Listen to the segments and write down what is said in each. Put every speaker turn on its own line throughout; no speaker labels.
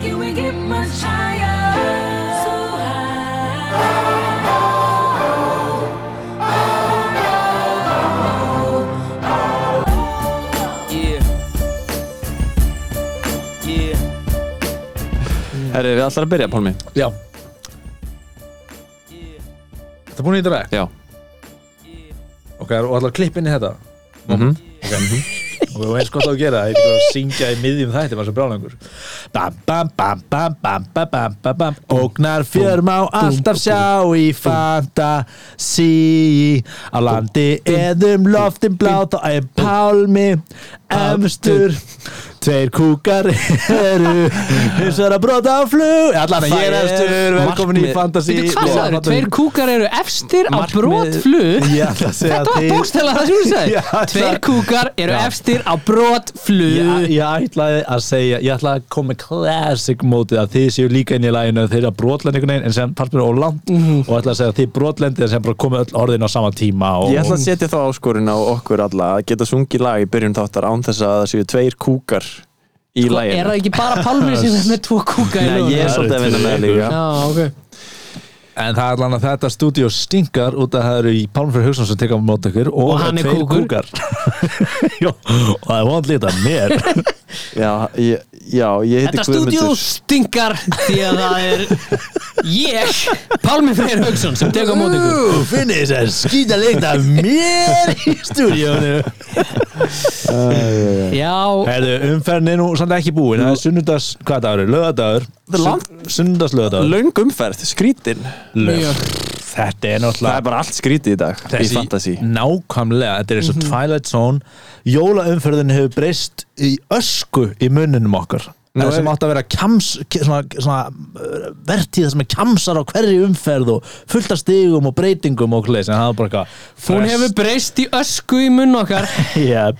Can we get much higher? So high.
Yeah Yeah
Herri, við allar að byrja, Pálmi
Já Þetta er búin í þetta veg
Já,
Ok, og allar klippin í þetta
mhm
Ok, og eins gott á að gera Ég fyrir að syngja í miðjum þætti var svo brálangur Bam, bam, bam, bam, bam, bam, bam, bam, bam Ógnar fjör má alltaf sjá í fantasí Á landi eðum loftin blá Þá er pálmi efstur Tveir kúkar eru Hinsar að brota á flug Allan að ég
Það
er
er
efstur Velkomin í
markmið.
fantasí
Þetta hvað sagður, tveir kúkar eru efstir á brotflug
Ég ætla að segja
Þetta var
þið-
bókstæla það sem þú
Já,
sagði
það-
Tveir kúkar eru
Já.
efstir á brotflug
ég, ég ætlaði að segja ég ætlaði að koma með classic mótið að þið séu líka inn í læginu þeir að brotlend einhvern veginn en sem fannst mér ólant og ætlaði að segja að þið brotlendið en sem bara komið öll orðin á sama tíma og,
Ég ætla að setja þá áskorun á okkur alla að geta sungið lag í byrjun þáttar án þess að það séu tveir kúkar í
Sko,
laginu
Er það ekki bara pálmið sem er með tvo kúka í
Nei,
lóðinu?
ég er
Það
svolítið að
eru
vinna með það
tveir.
líka
Já, ok
en það er allan að þetta stúdíó stingar út að það eru í Pálmfjörð Hugson sem tekur á mót okkur og,
Og hann er
tveir
kúkur.
kúkar. Jó, og það er vond lítið að mér
Já, ég, já, ég heiti
Þetta stúdíó stingar því að það er ég, Pálmi Freyr Haugsson sem tekur á móti ykkur
Ú, finnið þess að skýta leita af mér í stúdíónu
Já,
Herðu, umferðin er nú samt ekki búin það er sunnudags, hvað dagur, lögadagur
er langt-
sunnudags lögadagur
Löng umferð, skrítin
Löf.
Mjög.
Þetta er
Það er
náttúrulega
bara allt skrítið í dag í fantasy
nákvæmlega, þetta er eins og Twilight Zone Jólaumferðin hefur breyst í ösku í munninum okkar
Nú
Nú, sem
er-
átt að vera kjams, svona, svona vertíð sem er kjamsar á hverju umferð og fullta stigum og breytingum og hlæs en það er bara eitthvað
hún
frest-
hefur breyst í ösku í munn okkar
Jep.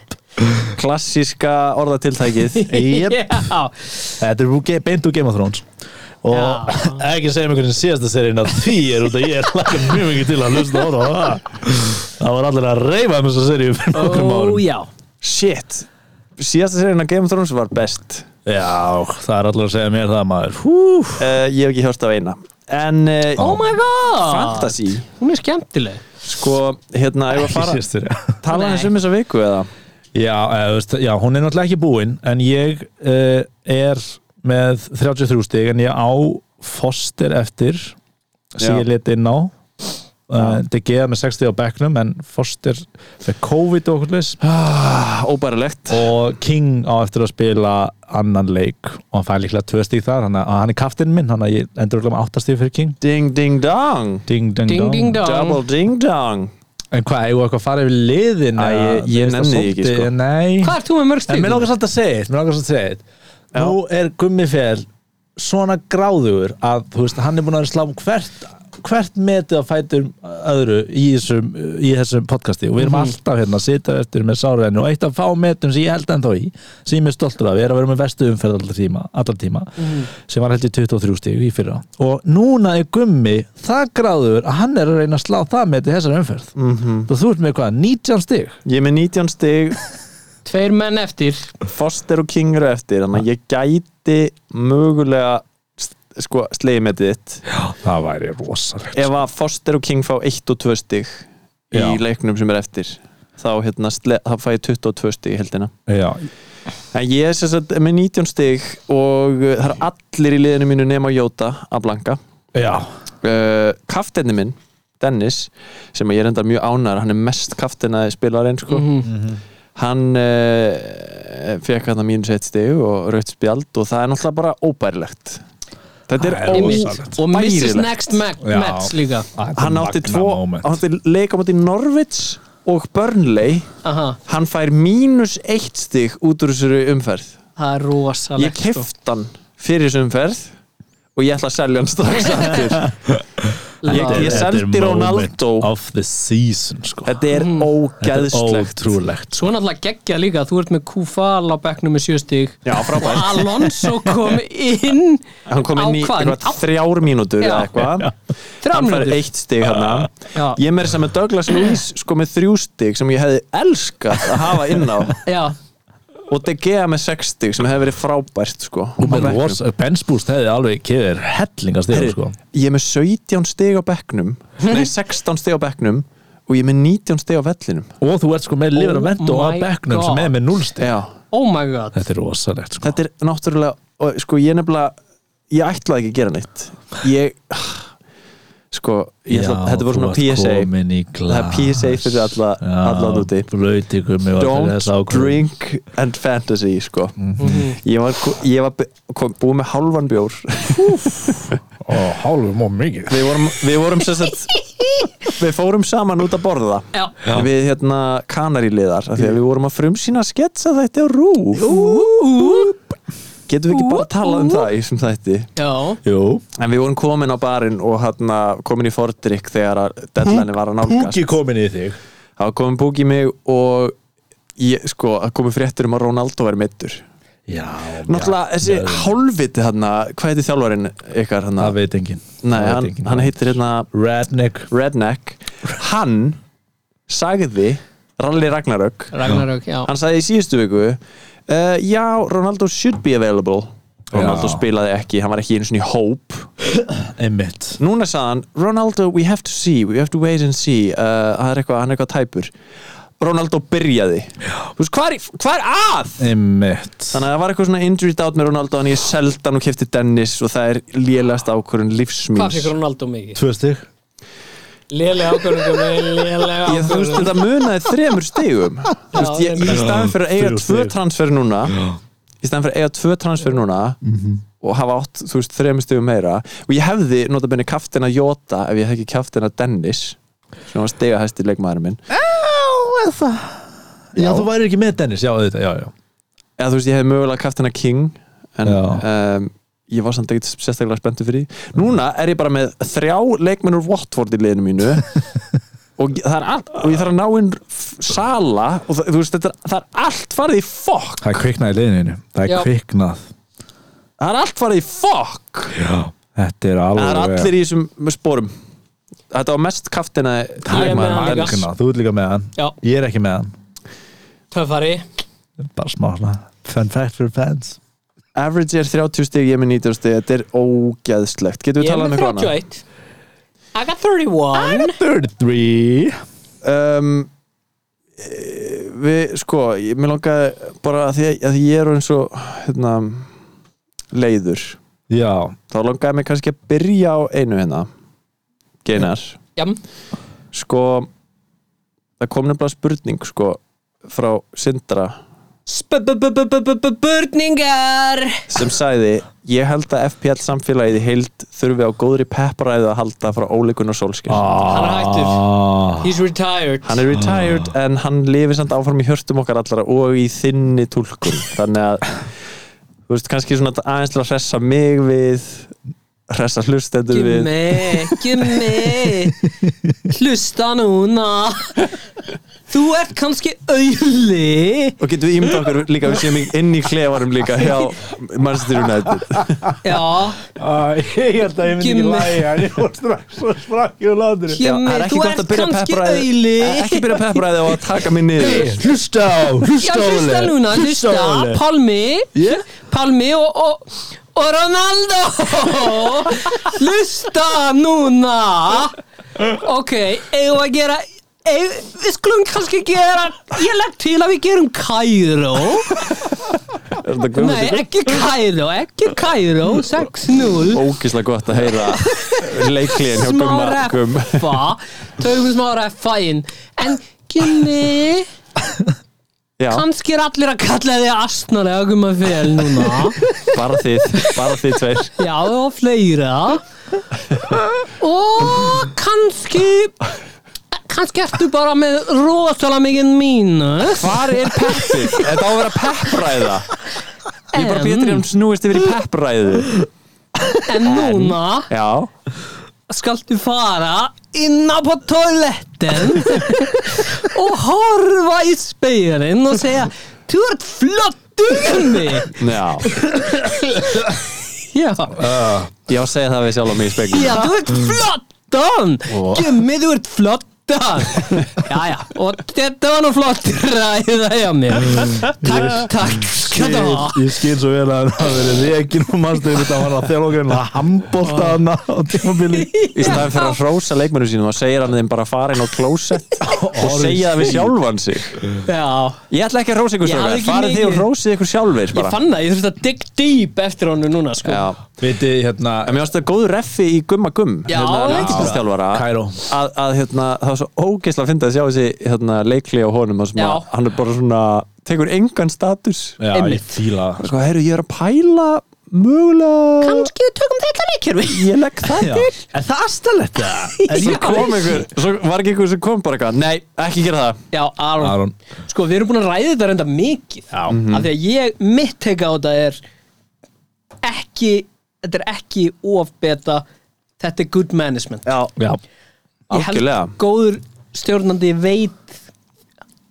Klassíska orðatiltækið
Jep.
Já,
Þetta er úr ge- beint úr Game of Thrones og
Já.
ekki segja mig hvernig síðasta serín að því er út að ég er lagað mjög mikið til að hlusta á það og það. það var allir að reyfa um þessa seríu fyrir nokkrum
ó
árum
já
Shit Síðasta serien að Game of Thrones var best
Já, það er allir að segja mér það maður Hú.
uh, Ég hef ekki hörst af eina En uh,
Oh my god
fantasy
Hún er skemmtileg
Sko, hérna, ég var að fara
Sýstur, já.
Tala
Nei.
eins um þessa viku eða
Já, eða, þú veist, já, hún er náttúrulega ekki búin en ég uh, er með 33 stig en ég á Foster eftir sem
Já.
ég leti inn á uh, DG með 60 á bekknum en Foster með COVID og okkur leys
Óbærilegt
og King á eftir að spila annan leik og hann fær líklega tvö stík þar hann, hann er kaftinn minn, hann ég endur örugglega með áttastík fyrir King
Ding ding dong
Ding, ding,
Ding,
dong.
ding, dong.
Double ding dong
En hvað, eigum við eitthvað að fara yfir liðin
Æ,
eða,
ég- ég
þú veist, það
nenni því ekki,
svolítið-
sko.
Nei
Hvað er þú með mörg
En
stík?
mér langar svolítið að segja eitt, mér langar svolítið að segja eitt
Já.
Nú er Gummi Fel svona gráðugur að þú veist, hann er búin að slá hvert, hvert metið að fætum öðru í þessum, í þessum podcasti og við erum alltaf hérna að sitja eftir með sáraðinu og eitt af fá metum sem ég held ennþá í sem ég er stoltur af, ég er að vera með vestu umferð allar tíma, allar tíma sem var held í 23 stíg í fyrra og núna er Gummi það gráðugur að hann er að reyna að slá það metið í þessar umferð mm -hmm. og þú ert með hvað, 19 stíg
Ég er með 19 stig,
Tveir menn eftir
Foster og King eru eftir Þannig að ég gæti mögulega s- sko, slegið með þitt
Það væri rosalegt
Ef að Foster og King fá 1 og 2 stig í
Já.
leiknum sem er eftir þá hérna, sle, þá fæ ég 22 stig í heldina
Já,
En ég er sem sagt með 19 stig og uh, það eru allir í liðinu mínu nema Jóta að blanka
já
uh, kaftinni minn Dennis, sem ég er enda mjög ánar hann er mest kaftinnaði spilarinn sko. hann uh, fekk hann að mínu sett stig og raut spjald og það er náttúrulega bara óbærilegt þetta er
Það er
óbærilegt
rosalegt.
Og Mrs. Next Mac
Já.
Match líka
hann átti tvo, hann átti leika múti Norvits og Burnley
Aha,
hann fær mínus eitt stig út úr þessari umferð
Það er sko. rosalegt
ég keft hann fyrir þessu umferð og ég ætla að selja hann strax aftur ég- ég
ég,
seldi Ronaldo.
of the season sko.
þetta er ógeðslegt
ótrúlegt
Svo náttúrulega geggjað líka Þú ert með Kufal á bekknum með sjö stík
já, frábært
Og Alonso kom inn
hann kom inn í
Á hvað?
eitthvað
Á-
þrjár mínútur eða
Já.
eitthvað
Þrjá
hann fær
mínútur
eitt stig hann
Já.
ég er meira sem með Douglas Lewis sko með þrjú stig sem ég hefði elskað að hafa inn á
Já,
og De Gea með 60 sem hefði verið frábært sko
og
á
með
bekknum.
Wars, Bensbúst hefði alveg kefir hellinga
Herri,
stíðan sko
ég er með 17 stig á bekknum nei 16 stig á bekknum og ég er með 19 stig á vellinum
og þú ert sko með lifur að venda og
my
að bekknum sem
God.
er með 0 stíð
Já,
Oh my god
þetta er rosalegt sko
þetta er náttúrulega og, sko ég nefnilega, ég ætlaði ekki að gera neitt ég ah, sko, ég ætla,
Já,
þetta voru
þú
svona
ert
PSA
komin í
það er
glas.
PSA fyrir alla, alla núti
blöytigummi var fyrir þess
Don't
ákvörðun.
drink and fantasy sko.
Mhm.
ég var, ég var be- kom, búið með halvan bjór
Ó, hálfur mór mikið
við vorum, við vorum sem sagt við fórum saman út að borða
Já.
við hérna kanaríliðar af því að við vorum að frumsýna sketsa þetta á rúf getum við ekki bara að tala um það í sem þætti
Já,
Jú,
en við vorum komin á barinn og hérna komin í fordrykk þegar að deadline var að nálgast
púki komin í þig
það var komin búk í mig og ég, sko, að komi fréttur um að Ronaldo væri meittur
Já,
Náttúrulega þessi hálfviti hann hvað heitir þjálfarinn ykkar hann
það veit enginn
Nei,
Það veit
hann,
enginn.
hann heitir hérna
Redneck
Redneck Hann sagði Rally Ragnarök
Ragnarök, já
Hann sagði í síðustu viku uh, Já, Ronaldo should be available Ronaldo
Já.
spilaði ekki, hann var ekki einu svona í hóp
Einmitt
Núna sagði hann Ronaldo, we have to see, we have to wait and see uh, Hann er eitthvað, hann er eitthvað tæpur Ronaldo byrjaði Þú veist, hvað er, í- hvað er að?
Einmitt
Þannig að það var eitthvað svona injury doubt með Ronaldo en ég seldi hann og kefti Dennis og það er lélægast ákvörðun
Hvað fikk
lífsmýns
Ronaldo mikið?
Tvö stík
Lélega ákvörðingum, lélega
Ég, þú veist,
ákvörðingum
þetta munaði þremur stigum Þú veist, ég, ég í staðan fyrir að eiga
Þrjú
tvö
stig.
transfer núna í staðan fyrir að eiga tvö transfer núna
Mhm.
og hafa átt, þú veist, þremur stigum meira og ég hefði notabenni kaftina Jota ef ég hefði ekki kaftina Dennis sem var stigahæsti leikmaðurinn minn
Já, þú væri ekki með Dennis, já, auðvitað, já, já
eða þú veist, ég hefði mögulega kaftina King en
Já.
um, ég var samt ekkert sérstaklega spenntu fyrir því núna er ég bara með þrjá leikmennur Watford í liðinu mínu og, ég- það er allt, og ég þarf að ná inn f- Sala og það, þú veist, þetta, er- það er allt farið í fokk
Það er kviknað í liðinu Það
Já.
er kviknað
það er allt farið í fokk
Já Þetta er
það
alveg
er allir í þessum sporum þetta var mest kaftina
er með hann líka.
Magnað, Þú ert líka með hann
Já,
Ég er ekki með hann
töffari
Bara smá svona Fun fact for fans
average er 30 stig, ég er með 90 stig þetta er ógeðslegt, getum
Ég
við
er
talað um
með
eitthvað annað
31 I got
Ah.
31
33
um, eh, við sko ég, mér langaði bara að því að, að því ég er eins og hérna, leiður
Já
þá langaði mig kannski að byrja á einu hérna geinar
Já,
sko það kom nefnilega spurning sko frá Sindra
spurningar
sem sagði ég held að FPL samfélagið í heild þurfi á góðri pepparæðu að halda frá óleikun og sólskil
Ah.
Hann er
hættur
He's retired
hann er retired en hann lifir samt áfram í hjörtum okkar allara og í þinni tólkun þannig að þú veist kannski svona aðeins til að hressa mig við hressa hlustendur við
Gimmi, gimmi Hlusta núna Þú ert kannski auðli
og getum við ímynda okkur líka við séum í- inn í klefarum líka hjá Manchester United
Já,
Ah, Ég held að ég myndi ekki
Gimmi.
lægja Ég var strax og sprakk í látur
gimmi,
það er ekki
þú
gott
ert
að byrja
kannski
pepparæði-
auðli
ekki byrja peppræði og að taka mig niður
Hlusta á
Já,
Hlusta á
hlusta
Óli.
núna, hlusta
Óli.
Palmi,
Yeah.
Palmi og, og, og Ronaldo Hlusta núna Ok, eigum við að gera eigum, Við skulum kannski gera Ég legg til að við gerum Kairó
Er þetta góð?
Nei, ekki Kairó, ekki Kairó 6-0
ógislega gott að heyra leikliðin hjá
smá
Gumma Gum.
reffa tökum smá reffa inn en Gimmi
Já,
kannski er allir að kalla þig astnalega Gumma fel núna
bara þið, bara þið tveir
já og fleira og kannski kannski ertu bara með rosalega mikið mínus
Hvar er peppið? Þetta á að vera peppræða Ég er bara
En-
betur um snúist yfir í peppræðu
en núna
Já
skaltu fara inn á på toaletten og horfa í speilin og segja þú ert flottur gummi
Já,
já,
ég á að segja það við sjálf á mig í speglum
já, þú ert flottan gummi, þú ert flottan það Jæja, og þetta var nú flott ræða hjá mér Takk, takk, skjönda
Ég- ég skil svo vel að það verið rekin og mannstu þetta var að þjálfa okkur að handbólta hana á tímabili
í staðin fyrir að hrósa leikmennum sínum þá segir hann þeim bara að fara inn á klósett og segja það við sjálfan sig
Já,
ég ætla ekki að hrósa ykkur
Ég hafði
sjálfur
ekki
farið þið og
mikið-
hrósið ykkur sjálfur
ég
bara
fann það, ég þurfti að digg dýp eftir honum núna sko
Já.
Viti, hérna,
en mér finnst það góð reffi í Gumma Gumm
Já, það er ekki bara-
landsliðstjálfara,
Kairó.
að, að hérna, það var svo ógeðslega að finna að sjá þessi hérna, leikli á honum þar sem að
Já.
hann er bara svona tekur engan status
já, ég
einmitt.
fíla það.
sko, heyrðu, ég er að pæla mögulega
Kanski við tökum þetta leikjörfi
ég legg það
Já.
til
Er það aðstæðlegt það?
En
svo
ég-
kom ykkur, svo var ekki ykkur sem kom bara eitthvað nei, ekki gera það
Já, Aron,
Aron.
Sko, við erum búin að ræða þetta reynda mikið
Já.
Af því að ég, mitt teka á þetta er ekki, þetta er ekki of beta Þetta er good management
já,
Já,
Ég held
algjörlega.
góður stjórnandi veit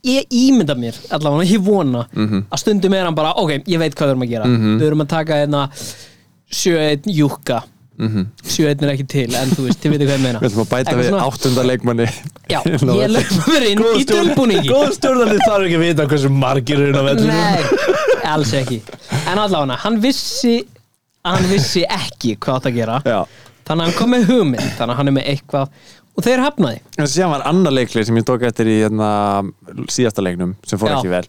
Ég ímynda mér allavega, ég vona
Mhm.
að stundum er hann bara, ok, ég veit hvað við erum að gera Við erum að taka hérna 7-1 júkka 7-1 er ekki til, en þú veist, þið veitir hvað ég meina
Mhm. við ætlum að bæta
Eitthvað
við
svona-
áttunda leikmanni
Já,
Inn á
ég
völlinn.
lögum mér inn í tilbúningi
Góð stjórnarnir þarf ekki að vita hversu margir er inn á vellinu
Nei, alls ekki En allavega, hann vissi hann vissi ekki hvað átt að gera
Já.
þannig að hann kom með hugmynd þannig að hann er með eitthvað og þeir hafnaði
en síðan var annar leikli sem ég tók eftir í hérna, síðasta leiknum sem fór
Já.
ekki vel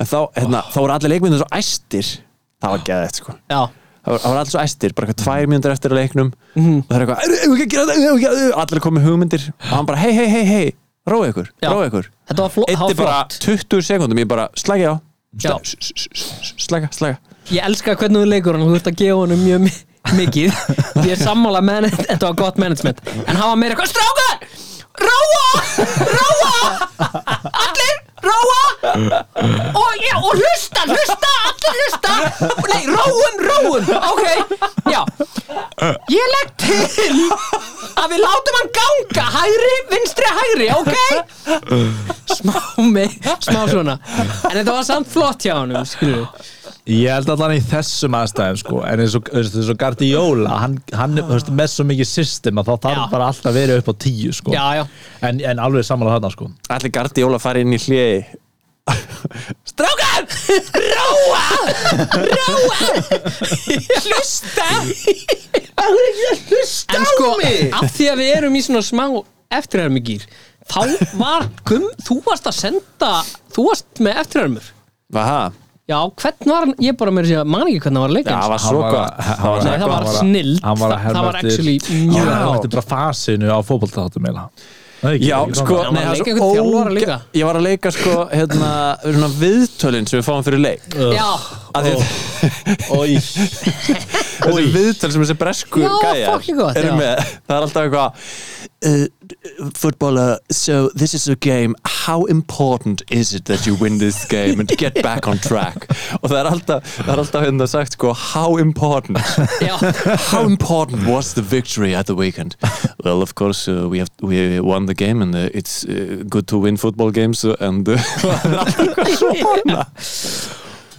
en þá, hérna, þá voru allir leikmyndir svo æstir það var geðið sko
Já,
það voru, það voru allir svo æstir, bara eitthvað tvær mínútur eftir að leiknum
Mhm.
og það er eitthvað "Eru- eigum við ekki að gera þetta? Eigum við ekki að-" allir komið hugmyndir og hann bara hei hei hei hei, róa ykkur,
Já.
róa ykkur
þetta var, fló, það
eitti
var
bara
flott
20 sekundum ég bara slækja á
Já.
Sla- s- s- s- s- slækja, slækja
Ég elska hvernig þú leikur hann og þú ert að gefa honum mjög mi- mikið Því ég sammála menn, þetta var gott management en hann var meira eitthvað strákar Róa! Róa! Allir, róa! Og, já, og hlusta, hlusta, allir hlusta Nei, róum, róum Ok, já Ég legg til að við látum hann ganga Hægri, vinstri, hægri, ok Smá mig, smá svona En þetta var samt flott hjá honum, skilur
Ég held allan í þessum aðstæðum sko En eins og, eins og Gardióla Hann, hann þú veist, með svo mikið system að þá þarf
Já.
bara alltaf að vera upp á tíu sko
Já, já
En, en alveg samanlega þarna sko
allir gardi jóla fari inn í hliði
Strákar! Róa! Róa! Hlusta! Það er ekki að hlusta en sko, af því að við erum í svona smá eftirhermigýr þá var, gum, þú varst að senda þú varst með eftirhermur
Aha.
Já, hvern var hann, ég bara meira að segja man ekki hvernig hann var
já,
að leika
það
hans.
var svo
Hann var
gott Það var
að- hann var
Nei,
svo
það
gott.
var snilld
Hann var að
Það var
herma eftir-
actually
Hann
mjög
var að
gott.
herma eftir bara fasinu á fótboltáttum eiginlega. Það er ekki-
Já,
ekki
sko,
svona.
Hann var
nei,
að
það
leika
er
einhvern
svo
þjálfara
óge-
líka.
Ég var að leika sko, hérna, svona viðtölin sem við fáum fyrir leik
Já,
Af því að
Oj.
þessi viðtöl sem þessi bresku
Já,
gæjar
fucking gott,
eru
já.
með það er alltaf eitthvað uh, footballer, so this is a game how important is it that you win this game and get back on track og það er alltaf, það er alltaf hérna sagt sko, how important
já
How important was the victory at the weekend? Well, of course, uh, we have we won the game and uh, it's uh, good to win football games uh, and uh,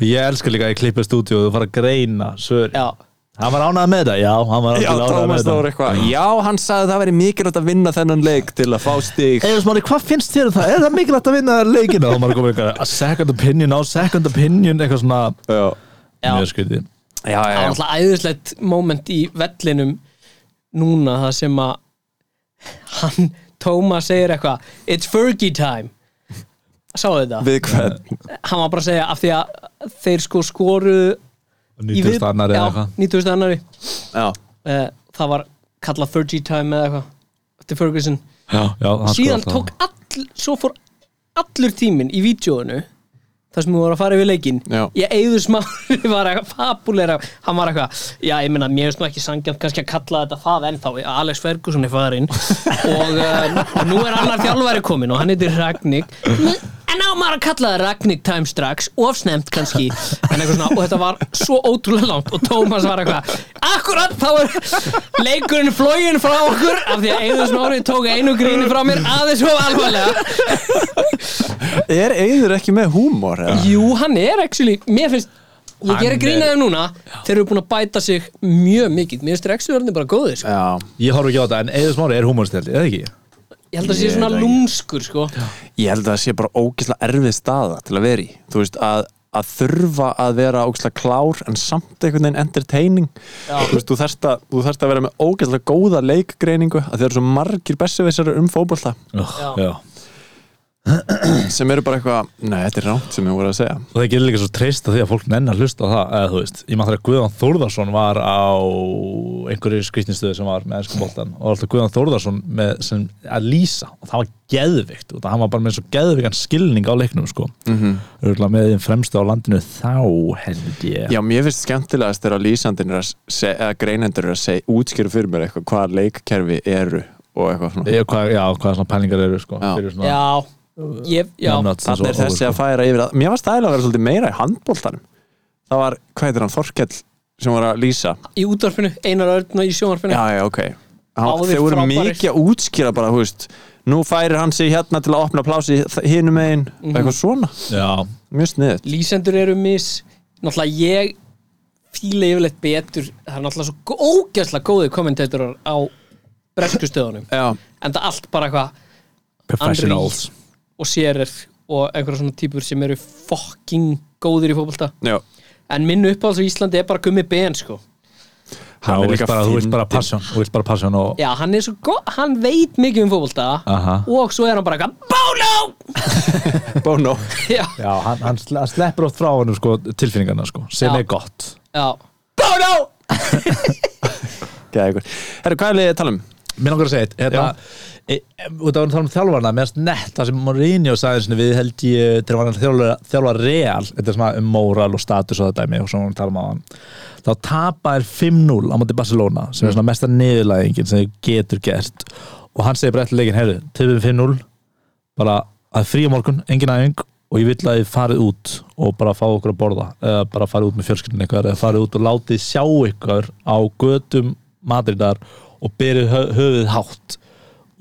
Ég elska líka að ég klippa stúdíu og þú fara að greina svör
Já.
Hann var ánað með það, já, hann var
Já,
ánað
Tómas
með
Þór
það
eitthvað Já, hann sagði það væri mikilvægt að vinna þennan leik til að fá stig
Eða smári, hvað finnst þér um það? Er það mikilvægt að vinna leikina? Þá maður komið eitthvað, a second opinion á second opinion Eitthvað svona
Já,
Já.
mjög skrítið
já,
það var
já,
alltaf æðislegt moment í vellinum núna það sem að hann, Tóma segir eitthvað It's Fergie time Sáðu þetta?
við hvern
Hann var bara að segja af því að þeir sko skoru í við-
90 annar eða
Já,
eitthvað
90. annari
Já,
uh, Það var kallað Fergie time eða eitthvað eftir Ferguson
Já, já, hann
Síðan
skoraði
tók all, svo fór allur tíminn í vídjóinu þar sem þú voru að fara yfir leikinn
Já.
ég eigður smári var eitthvað fabulera hann var eitthvað, já ég meina mér finnst nú ekki sangjönd kannski að kalla þetta það ennþá Alex Ferguson er farin og um, nú er annar þjálfæri komin og hann heitir Ragnik en á maður að kalla það Ragnik time strax ofsnemt kannski En eitthvað svona, og þetta var svo ótrúlega langt og Tómas var eitthvað, akkurat þá er leikurinn flógin frá okkur af því að eigður smári tók einu gríni frá mér aðeins of alvarlega
Er Eyður ekki með húmor? eða?
Jú, hann er actually, mér finnst ég
Hann
gerir
er-
grínaðið núna þeir eru búin að bæta sig mjög mikið mér finnst Rexu verðin bara góðir sko.
Já,
Ég horf ekki á þetta, en Eður Smári er húmorstjaldi, eða ekki?
Ég held að það sé
Ég
svona
veit ekki.
lúmskur sko
ég held að það sé bara ógeðslega erfið staða til að vera í þú veist að að þurfa að vera ógeðslega klár en samt einhvern veginn entertaining þú veist, þú þarft að, þú þarft að vera með ógeðslega góða leikgreiningu að þeir eru svo margir bestsefisar um fótbolta
Já.
Já.
sem eru bara eitthvað, nei þetta er rámt sem ég voru að segja
og það gerir líka svo treyst að því að fólk nennar hlusta á það eða þú veist, ég maður þegar Guðan Þórðarsson var á einhverju skrýtninstöðu sem var með ennskum boltan og alltaf Guðan Þórðarsson með, sem að lýsa og það var geðvikt og það hann var bara með svo geðvikan skilning á leiknum sko
Mhm.
Örgulega með þeim fremstu á landinu þá held ég
Já, mér finnst skemmtilegast þegar lýsandinn er að segja, eða greinendur er að segja, útskýra fyrir mér eitthvað hvaða leikkerfi eru og eitthvað svona.
Ég- hvað, já, hvaða svona pælingar eru sko
Já.
fyrir svona
Já, ég, já,
numbnuts og
Þannig er
svo-
þessi
og-
að færa yfir að, mér var stæla að vera svolítið meira í handbóltanum. Það var, hvað heitir hann, Þorkell sem var að lýsa.
í útvarpinu, einar örn og í sjónvarpinu
Já, já, ok. Hann,
Báðir
þeir voru
frábærir.
mikið að útskýra bara, þú veist, nú færir hann sig hérna til að opna plási hinum megin,
Mhm.
eitthvað svona.
Já,
Mjög sniðið.
Lýsendur eru mis Náttúrulega ég fíla yfirleitt betur Það er náttúrulega svo gó- ógeðslega góðið kommentatorar á breskustöðunum
Já,
En það allt bara eitthvað
professionals
og sérir og einhverja svona típur sem eru fucking góðir í fótbolta
já.
En minn uppáhalds á Íslandi er bara gummi ben sko
Já,
Hann er
þú
líka
veist bara, þú veist bara
fyndinn.
passion Þú veist bara passion og
Já, hann er svo góð, hann veit mikið um fótbolta
Aha.
Og svo er hann bara eitthvað BÓNÓ
Bono.
Já,
Já, hann, hann sle- hann sleppur oft frá honum sko, tilfinningarna sko, sem
Já.
er gott
já BÓNÓ
Geðveikur. Herru, hvað er liðið að tala um?
Mér langar að segja eitt hérna, e, e, út af að tala um þjálfarna, mér finnst nett það sem Mourinho sagði sinni, við held ég til að hann þjálfa, þjálfa real, þetta er svona um móral og status og þetta dæmi og svona hann tala um á hann þá tapa er 5-0 á móti Barcelona sem er svona mesta niðurlæðingin sem þau getur gert og hann segir bara eftir leikin, heyrðu, töfum 5-0 bara að frí á morgun, engin æfing og ég vil að þið farið út og bara fá okkur að borða eða bara farið út með fjölskyldin eitthvað eða farið út og látið sjá ykkur á götum Madridar og berið hö höfuð hátt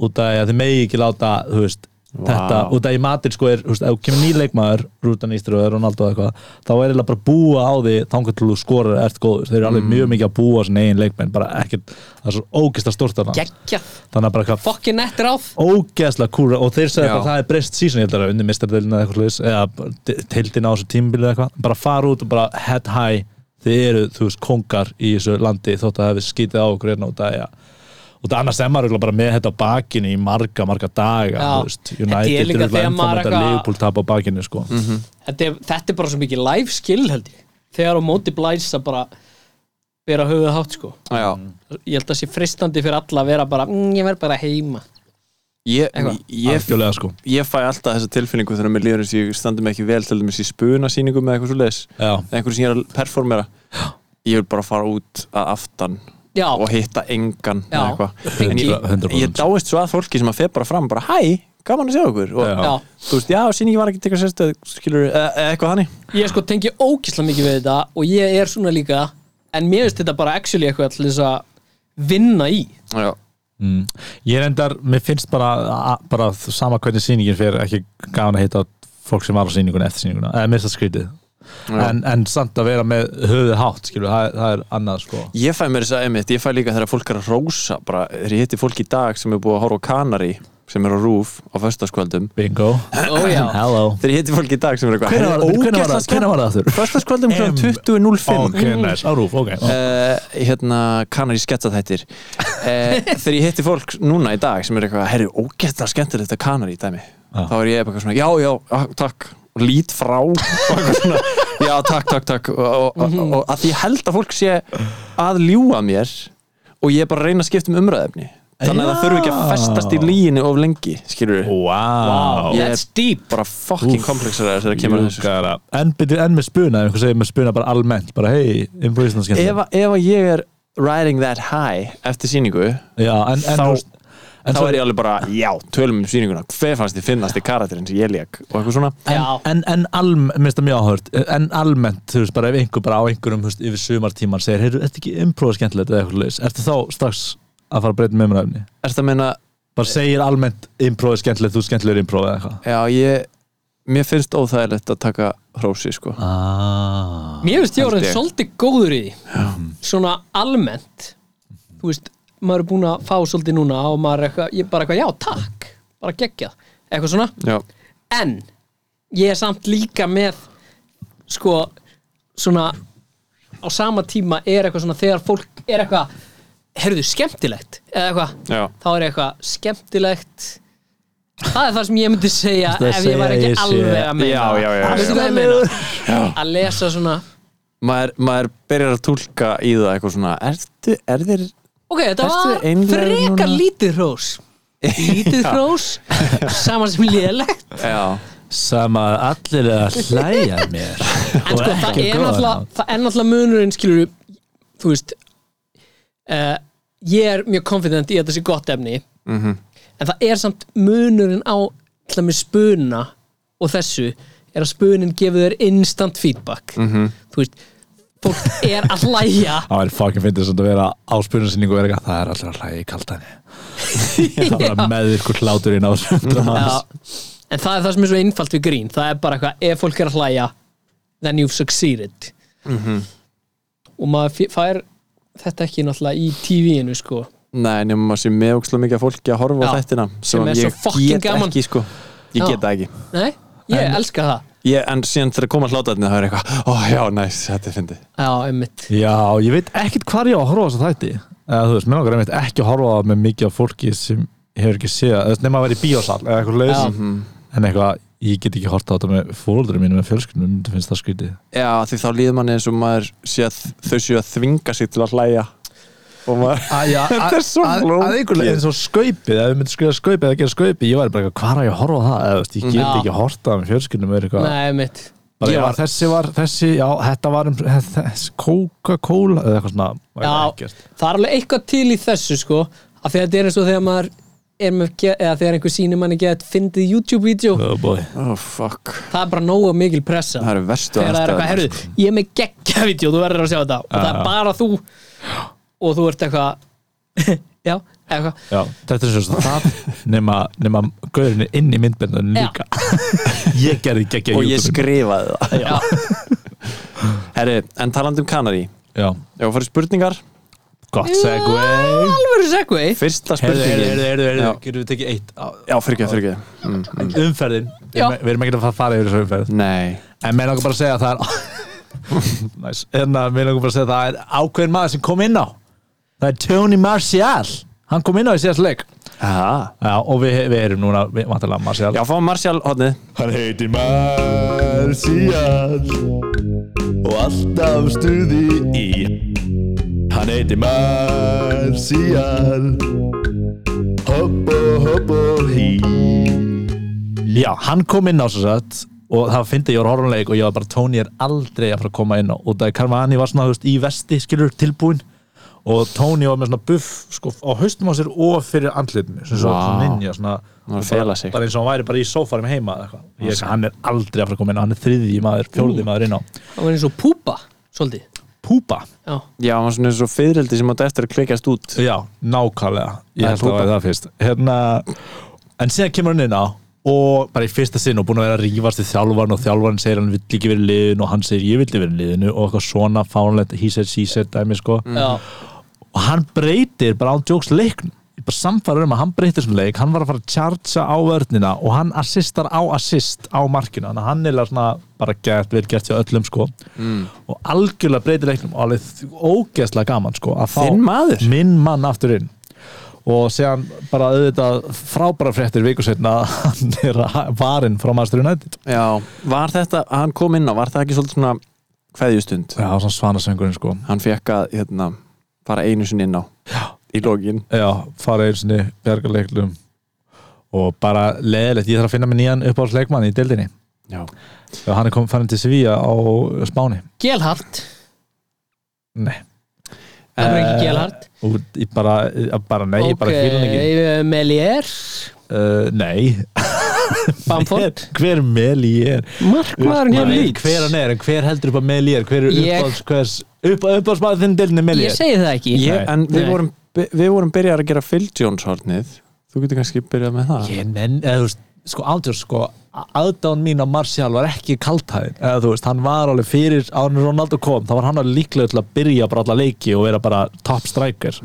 út af því að þið megi ekki láta þú veist, þetta, út af í Madrid sko er þú veist, ef þú kemur ný leikmaður, Rútan Íströður Ronaldo eða eitthvað, þá er eiginlega bara að búa á því þangar til þú skorar eða ert góður þeir eru alveg mjög mikið að búa á sinni eigin leikmenn bara ekkert, það er svo ógist að stort þarna
Gekkja,
þannig að bara hvað
fucking nett ráð
ógeðslega kúra og þeir
Já.
sagði bara að það er breyst sísun ég held að það er unni mistardelina eða eitthvað slags eða tildin á þessu tímabilið eða eitthvað bara fara út og bara head high þið eru þú veist kongar í þessu landi þótt að það hefði skítið á okkur hérna út að ja. og það annars er maður örugglega bara með þetta á bakinu í marga marga daga
Já.
þú veist,
En
United
þetta er
eru
líka
örugglega
þegar
ennþá með
maður
þetta
eitthvað- Mhm.
Liverpool tap á bakinu sko.
þetta er, þetta er bara svo mikið live skill held ég þegar á móti blæs að bara vera höfuð hátt sko
Já.
ég held að sé fristandi fyrir alla að vera bara mm, ég verð bara heima
Ég,
Eitthvað.
ég
algjörlega sko
ég fæ alltaf þessa tilfinningu þegar mér líður eins og ég standi mig ekki vel til dæmis í spunasýningu með eitthvað svo leis
já,
eitthvað sem ég er að performera ég vil bara fara út að aftan
já,
og hitta engan eða
Já.
eitthvað. en ég,
100%.
ég dáist svo að fólki sem að fer bara fram bara hæ, gaman að sjá okkur og
Já.
já.
þú veist, já, sýningi var ekki eitthvað sérstöð skilur, eða e, eitthvað þannig
ég sko tengi ókísla mikið við þetta og ég er svona líka en mér finnst þetta bara actually eitthvað til þess að vinna í
já,
Mm. Ég er endar, mér finnst bara, a- bara sama hvernig sýningin fyrir ekki gaman að hitta á fólk sem var á sýninguna eftir sýninguna, eða mér er það skrítið en, en samt að vera með höfuð hátt skilur, það, er- það er annað sko
ég fæ mér þess að einmitt, ég fæ líka þegar fólk er að rósa bara, þegar ég hitti fólk í dag sem er búið að horfa á Kanari sem er á Rúf á föstaskvöldum
Bingo,
Ó, já.
hello
þegar ég hitti fólk í dag sem er eitthvað
Hvenær var-
"Herðu,
hvenær var það-
ógeðslega
hvenær var það aftur?"
skemmt. Föstudagskvöldum klukkan
Em.
20.05
Ok, nice, á rúf, ok
uh, hérna kanar í sketsaþættir uh, þegar ég hitti fólk núna í dag sem er eitthvað, herri, ógætla skemmtilegt að kanar í dæmi,
Já.
þá er ég eitthvað svona já, já, ah, takk, og lít frá og eitthvað svona, já, takk, takk, takk og, og, og, og að því ég held að fólk sé að ljúa mér og ég er bara að reyna að skipta um umræðefni þannig að það
Já.
þurfi ekki að festast í líinu of lengi, skilur við,
Wow,
Ég-
that's deep
bara fucking komplexar þegar það kemur að þessu
En byrju enn með spuna, ef einhver segir með spuna bara almennt bara hei, innbúðisna
ef,
skemmt
að- ef að ég er riding that high eftir síningu
Já, en, en,
Þá-
þú veist- en
þá
svo-
er ég alveg bara, já, tölum um sýninguna hver fannst þið finnast þið karakterinn sem ég leik og eitthvað svona
já,
en, en almennt, minnst það mjög áhört en almennt, þú veist, bara ef einhver bara á einhverjum þú veist, yfir sumartíman segir, heyrðu, ertu ekki improv skemmtilegt eða eitthvað leis, ertu þá strax að fara að breyta með umræfni?
Er þetta að meina,
Bara segir almennt improv er skemmtilegt, þú skemmtilegur improv eða eitthvað
já, ég mér finnst óþægilegt að taka hrósi sko.
ah.
mér finnst ég
Held
orðin
ég.
svolítið góður í því svona almennt þú veist, maður er búin að fá svolítið núna og maður er eitthvað, ég er bara eitthvað, já, takk bara geggjað, eitthvað svona
já,
en ég er samt líka með sko svona á sama tíma er eitthvað svona þegar fólk er eitthvað heyrðu skemmtilegt eða eitthvað
já,
þá er eitthvað skemmtilegt það er það sem ég myndi segja
Ertu að
ef ég var
segja
ekki
ég sé-
alveg að meina
já, já, já, já,
Veistu
já.
hvað ég meina? að lesa svona
Maður, maður byrjar að tólka í það eitthvað svona ertu, er þér
ok, þetta
Ertu
var
einlægur
frekar
núna?
lítið hrós lítið hrós saman sem lélegt
já,
Sama að allir eru að hlæja að mér
en sko, það
ekki
er
góðan
náttúrulega
hátt.
það er náttúrulega munurinn skilur þú veist uh, ég er mjög confident í að þetta sé gott efni
Mhm.
-hmm. en það er samt munurinn á til að með spuna og þessu er að spunin gefur þér instant feedback
Mhm.
-hmm. þú veist, fólk er að hlæja
Það er fucking fyndið samt að vera á spurnarsynningu og vera eitthvað, það er allir að hlæja í kaldanni Það er bara með ykkur hláturinn á þessum
Já.
dramaðs
en það er það sem er svo einfalt við grín það er bara eitthvað, ef fólk er að hlæja then you've succeeded
Mhm.
og maður fe- fær þetta ekki náttúrulega í TV-inu sko
nei, nema maður sé með ókslega mikið af fólki að horfa á
Já,
þættina
sem er
að
svo
ég
fucking
get
gaman.
ekki, sko ég
Já.
get það ekki
Nei, ég elska það
ég, en síðan þegar koma hlátarnir þá er eitthvað, ó já, næs, þetta er fyndið
Já, einmitt
Já, ég veit ekkert hvað ég á að horfa á þess að þætti eða þú veist, mér langar einmitt ekki að horfa á með mikið af fólki sem hefur ekki séð eða þú veist, nema að vera í bíósal eða eitthvað laus
Já.
en eitthvað, ég get ekki horta á þetta með fólkdurum mínu með fjölskyldunum, þetta finnst það skrítið
Já, því þá líður manni eins og maður sé að þau séu að þvinga sig til að hlæja og maður
Æja,
Þetta er svo
að
flókið.
einhverlega eins og skaupið ef við myndum skrifa skaupið eða gera skaupið ég var bara eitthvað, hvað er ég að horfa á það eða, þú veist, ég get
Já.
ekki að horta með fjölskyldunum eða eitthvað
Nei, einmitt
bara,
Ég
já,
var-
þessi var, þessi, já, þetta var um, þess, Coca-Cola eða eitthvað svona og
Já,
eitthvað ekkert.
það er alveg eitthvað til í þessu sko af því að þetta er eins og þegar maður er með, ge- eða þegar einhver sýnir manni get fyndið YouTube-vídeó,
Oh boy.
Oh fuck
það er bara nógu mikil pressa
Það eru verstu
þegar það er eitthvað,
aðstæðurnar,
herruð, ég er með geggja vídeo, þú verður að sjá þetta og það er
sko." Já.
bara þú og þú ert eitthvað já, eitthvað,
Já, þetta er svona það nema, nema gaurinni inn í myndbendunum
Já.
líka ég gerði ekki
Og ég skrifaði það
já,
Herri, en talandi um Kanari
já,
Já, farið spurningar
gott segvei
alveg segvei
Fyrsta
Heyrðu,
spurningin
heyrðu, heyrðu, heyrðu,
Já.
getum við tekið eitt á-
Já, fyrir ekki, fyrir ekki
umferðin,
Já.
við erum ekki að fara- fara yfir þessu umferð
Nei
En mér langar bara að segja að það er Næs, en að mér langar bara að segja að það er ákveðin maður sem kom inn á Það er Tony Martial Hann kom inn á í síðast leik
Aha.
Já, og við, við erum núna, við vantarlega Martial
Já, fáum Marcial hodnið
Hann heitir Marcial og alltaf stuði í. Hann heitir Marcial, hopp og hopp og hí.
Já, hann kom inn á svo satt og það fyndi ég var horfumleik og ég var bara Tony er aldrei að fara að koma inn á og það er Carvani var svona, þú veist, í vesti skilur tilbúin og Tony var með svona buff sko, á haustum á sér og fyrir andlitinu sem svo
Vá.
wow. ninja svona,
Hann
og
var að fela
bara,
sig.
bara eins og hann væri bara í sófarum heima eða eitthvað. ég, hann er aldrei að fara að koma inn á, hann er þriðji maður, fjórði maður inn á
það var eins og púpa, svolítið
Púpa,
já,
Já, hann var svona eins og fyririldi sem átti eftir að kveikast út
já, nákvæmlega
Það er
ég held að
púpa.
það var það fyrst hérna, en síðan kemur hann inn á og bara í fyrsta sinn og búin að vera að rífast við þjálfarn og þjálfarn segir hann vill ekki verið liðin og hann segir ég vildi verið liðinu og eitthvað svona fánlegt he said, she said, dæmi sko
já,
og hann breytir bara án djóks leikn ég bara samfæður um að hann breytir svona leik hann var að fara að tjartsa á vörnina og hann assistar á assist á markinu þannig að hann er eiginlega svona bara gert vel gert hjá öllum sko
Mm.
og algjörlega breytir leiknum og alveg þ- ógeðslega gaman sko að fá
Þinn maður?
minn mann aftur inn og sé hann bara auðvitað frábæra fréttir viku setna að hann er að- varinn frá Master United
Já, var þetta, hann kom inn á, var það ekki svolítið svona kveðjustund?
já, svona svanasöngurinn sko
Hann fekk að, hérna, fara einu sinni inn á Í lokin
Já, fara einu sinni, bjarga leiklum og bara leðilegt, ég þarf að finna mér nýjan uppáhaldsleikmann í deildinni
Já
og hann er kom, farin til Sevilla á Spáni
gelhart
Nei,
það er
Eh,
ekki gelhart
út, ég bara, ég bara nei, ég bara fílan ekki
Ok, eh, Melier
uh, Nei,
Bamford
hver meli ég er
Markmaðurinn hjá Leeds
Hver hann er, en hver heldur upp að meli ég er hver er
hérna Ég-
uppáhalds, hvers, upp, uppáhaldsmaður þinn í deildinni meli
Ég
ég er
segi það ekki
ég,
Nei.
En við
Nei.
vorum, við vorum byrjar að gera Phil Jones hornið Þú getur kannski byrjað með það
Ég nenn, eða þú veist, sko ándjör sko aðdán mín á Martial var ekki kaltæðin eða þú veist, hann var alveg fyrir
Mm.
árið Ronaldo kom, þá var hann alveg líklega til að byrja bara alla leiki og vera bara top striker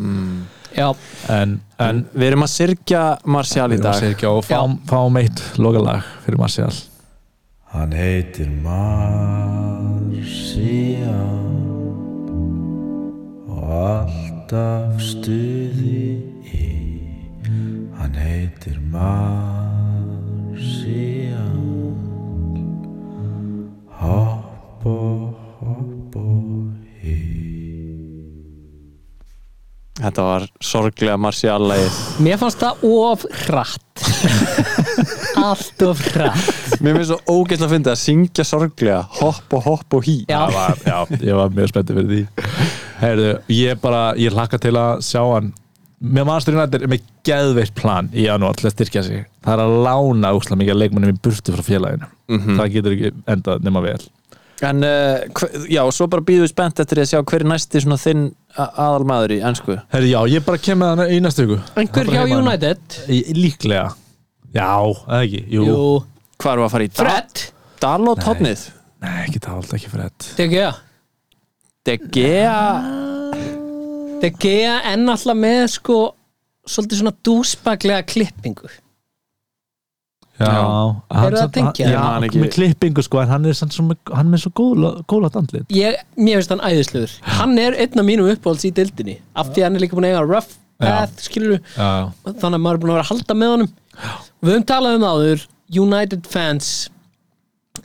já,
en, en
Við erum að syrkja Martial í
við erum að
dag
segja og fáum, fáum eitt lokalag fyrir Marcial
Hann heitir Marcian og alltaf stuði í Hann heitir Marcian Hopp og hopp og í
Þetta var sorglega Martial lagið
mér fannst það of hratt allt of hratt
Mér finnst svo ógeðslega að finna að syngja sorglega hopp og hopp og hí
já,
Það var, já, ég var mjög spenntið fyrir því Heyrðu, ég bara, ég hlakka til að sjá hann Mér mannstur United er með geðveitt plan í janúar til að styrkja sig Það er að lána úkslega mikið að leikmannum í burtu frá félaginu
Mhm.
Það getur ekki endað nema vel
En uh, hver- já, svo bara býðum við spennt eftir því að sjá hver er næsti svona þinn a- aðalmaður í ennsku
Heyrðu, já, ég bara kem með hann í næstu viku
einhver hjá United
hérna. Í- Líklega Já, eða ekki, jú,
jú,
Hvað erum við að fara í? Da-
Fred
Dalot hotnið?
Nei, ekki talt, ekki fyrir þetta
De Gea
De Gea
De Gea enn alltaf með sko svolítið svona dúsbaglega klippingu
Já, hann
Eru það
samt-
Ég
hann-
tengja?
man
Já,
ekki.
með klippingu sko En hann er, samt svo með- hann er með svo góla- gólat andlit
ég, mér finnst hann æðislegur hann er einn af mínum uppáhalds í dildinni af því að hann er líka búin að eiga rough path skilur,
Já,
þannig að maður er búin að vera að halda með honum við höfum talað um það áður United fans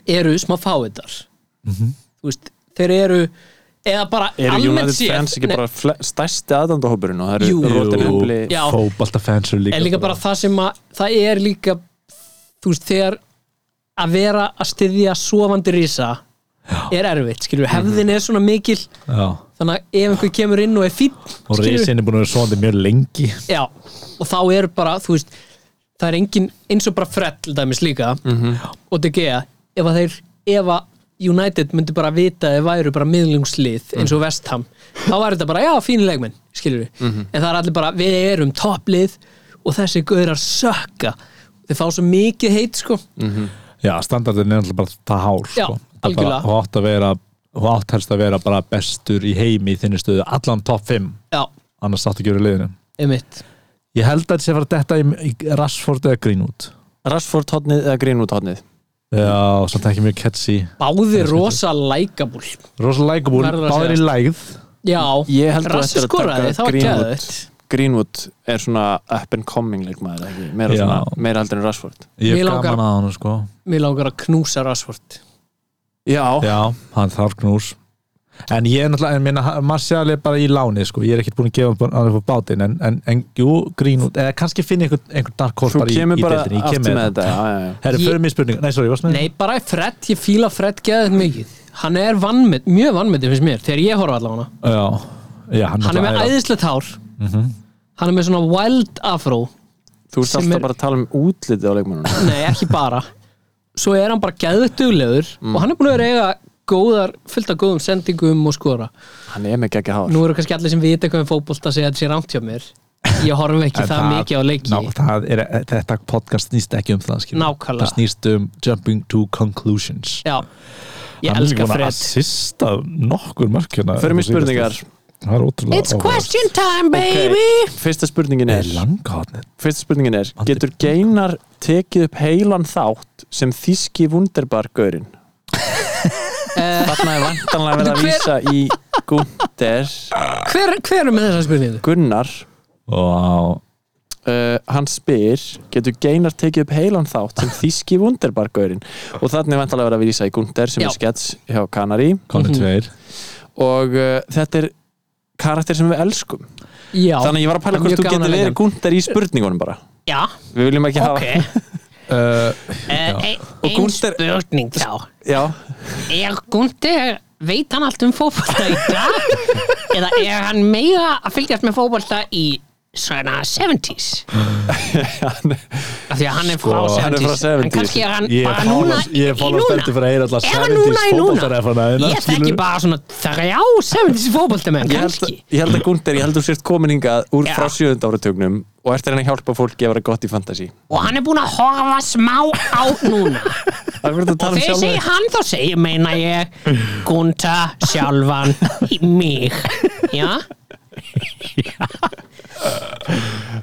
eru smá fáiðar þú veist, þeir eru eða bara
Mhm. Eru
almennt
United
séð
fans ekki
Nei,
bara fle- stærsti aðdandahópurinn og það
Jú.
eru rótir hefli
Já.
fótbaltafans eru líka sko.
en líka bara það sem að það er líka þú veist, þegar að vera að styðja sofandi rísa er erfitt, skilur, hefðin er svona mikil
Já
þannig að ef einhver kemur inn og er fín
og reysin er búin að vera svoandi mjög lengi
Já, og þá er bara, þú veist það er engin, eins og bara frell dæmis líka,
Mhm.
og De Gea ef að þeir, ef að United myndi bara vita að þeir væru bara miðlungslið eins
Mhm.
og West Ham, þá var þetta bara já, fínu leikmenn, skilur við
Mhm.
en það er allir bara, við erum topplið og þessi gaurar sökka þeir fá svo mikið heit, sko
Mm.
já, standardin er alltaf bara það hár
Já,
sko. Það er bara,
algjörlega.
og átt að vera og átt helst að vera bara bestur í heimi í þinni stöðu, allan topp 5
já,
annars átt að gera liðinu
einmitt
ég held að þetta sé að fara að detta í, í Rashford eða Greenwood
Rashford hotnið eða Greenwood hotnið
já, samt ekki mjög catchy
báðir rosa lækabúl
rosa likeable,
Verður að
báðir í lægð
já,
Ég held að
Rassi
þetta er að
skoraði,
taka
það var
Greenwood.
geðvægt
Greenwood er svona up and coming leikmaður ekki, meira,
Já.
svona, meira heldur en Rashford
ég
Mig
er
langar-
gaman að hann sko
mér langar að knúsa Rashford
Já,
já, hann þarf knús en ég er náttúrulega, en minna, Marcial er bara í láni sko, ég er ekkert búin að gefa hann upp á bátinn en, en, en jú, Greenwood, eða kannski finn ég einhvern einhver dark horse
þú
bara í,
kemur
í
bara
deildinni, ég
aftur
kem
með
með
þetta
þetta
já, já, já.
Herri,
Ég-
fyrir mér spurning Nei, sorry, varst með
Nei, bara Fred, ég fíla Fred geðið mikið Hann er vannmynd, mjög vannmyndið finnst mér Þegar ég horfa allavega á hana
Já, já hann,
Hann er með
náttúrulega Mhm.
æðislegt hár Hann er með svona wild afro
Þú ert
Sem
alltaf
er-
bara að tala um útlitið á leikmannunum
Nei, ekki bara Svo er hann bara geðið duglegur Og hann er búin að vera að eiga góðar, fullt af góðum sendingum og skora
Hann er með geggja hár
Nú eru kannski allir sem vita hvað um fótbolt að segja að þetta sé rámt hjá mér Ég horfa ekki
En
það, mikið á leiki
ná, það er, e, Þetta podcast snýst ekki um það skilur.
Nákvæmlega.
Það snýst um jumping to conclusions
Já, ég
Hann er líka
elska
búinn að
Fred
assista nokkur hérna markjana
Förum í spurningar
Það er ótrúlega áhugavert.
time,
okay. Fyrsta spurningin
Nei,
er
langhornið
Fyrsta spurningin er Getur geinar tekið upp heilan þátt sem þíski vunderbargaurinn? Þarna er vantanlega verið að
Hver-
vísa í Gunder
Hver, hver er með þessa spurningu?
Gunnar
Vá,
uh, hann spyr getur Geinar tekið upp heilan þátt sem þíski vunderbargaurinn og þannig er vantalega verið að vísa í Gunder sem
Já.
er skets hjá Kanari
Mhm.
konið tveir
og uh, þetta er karakter sem við elskum
Já,
þannig að ég var að
það
pæla
er
hvort
mjög
þú
gaman að
getur
leika
verið
hann.
Gunder í spurningunum bara
Já,
við viljum ekki
ok
uh,
Eh,
Eh, Og
Ein
Gunther-
spurning þá
hafa já,
Er Gunther, veit hann allt um fótbolta í dag? Eða er hann meira að fylgjast með fótbolta í svona 70s? Af því að hann er frá
Sko,
70s
hann er frá 70s.
En kannski er hann
Ég er
bara
fála-
núna
ég er fála
í núna.
spenntur fyrir að heyra alla
Er hann
70s
núna í núna?
fótboltarefana hérna,
Ég þekki
skilurðu?
bara svona þrjá 70s fótboltamenn,
ég held,
kannski
að- ég held að Gunder, ég held að þú sért komin hingað úr
Já.
frá sjöðund áratugnum og ert að reyna að hjálpa fólki að vera gott í fantasi
Og hann er búinn að horfa smá á núna
um
Og þegar ég segi hann þá segir meina ég Gunta sjálfan í mig Já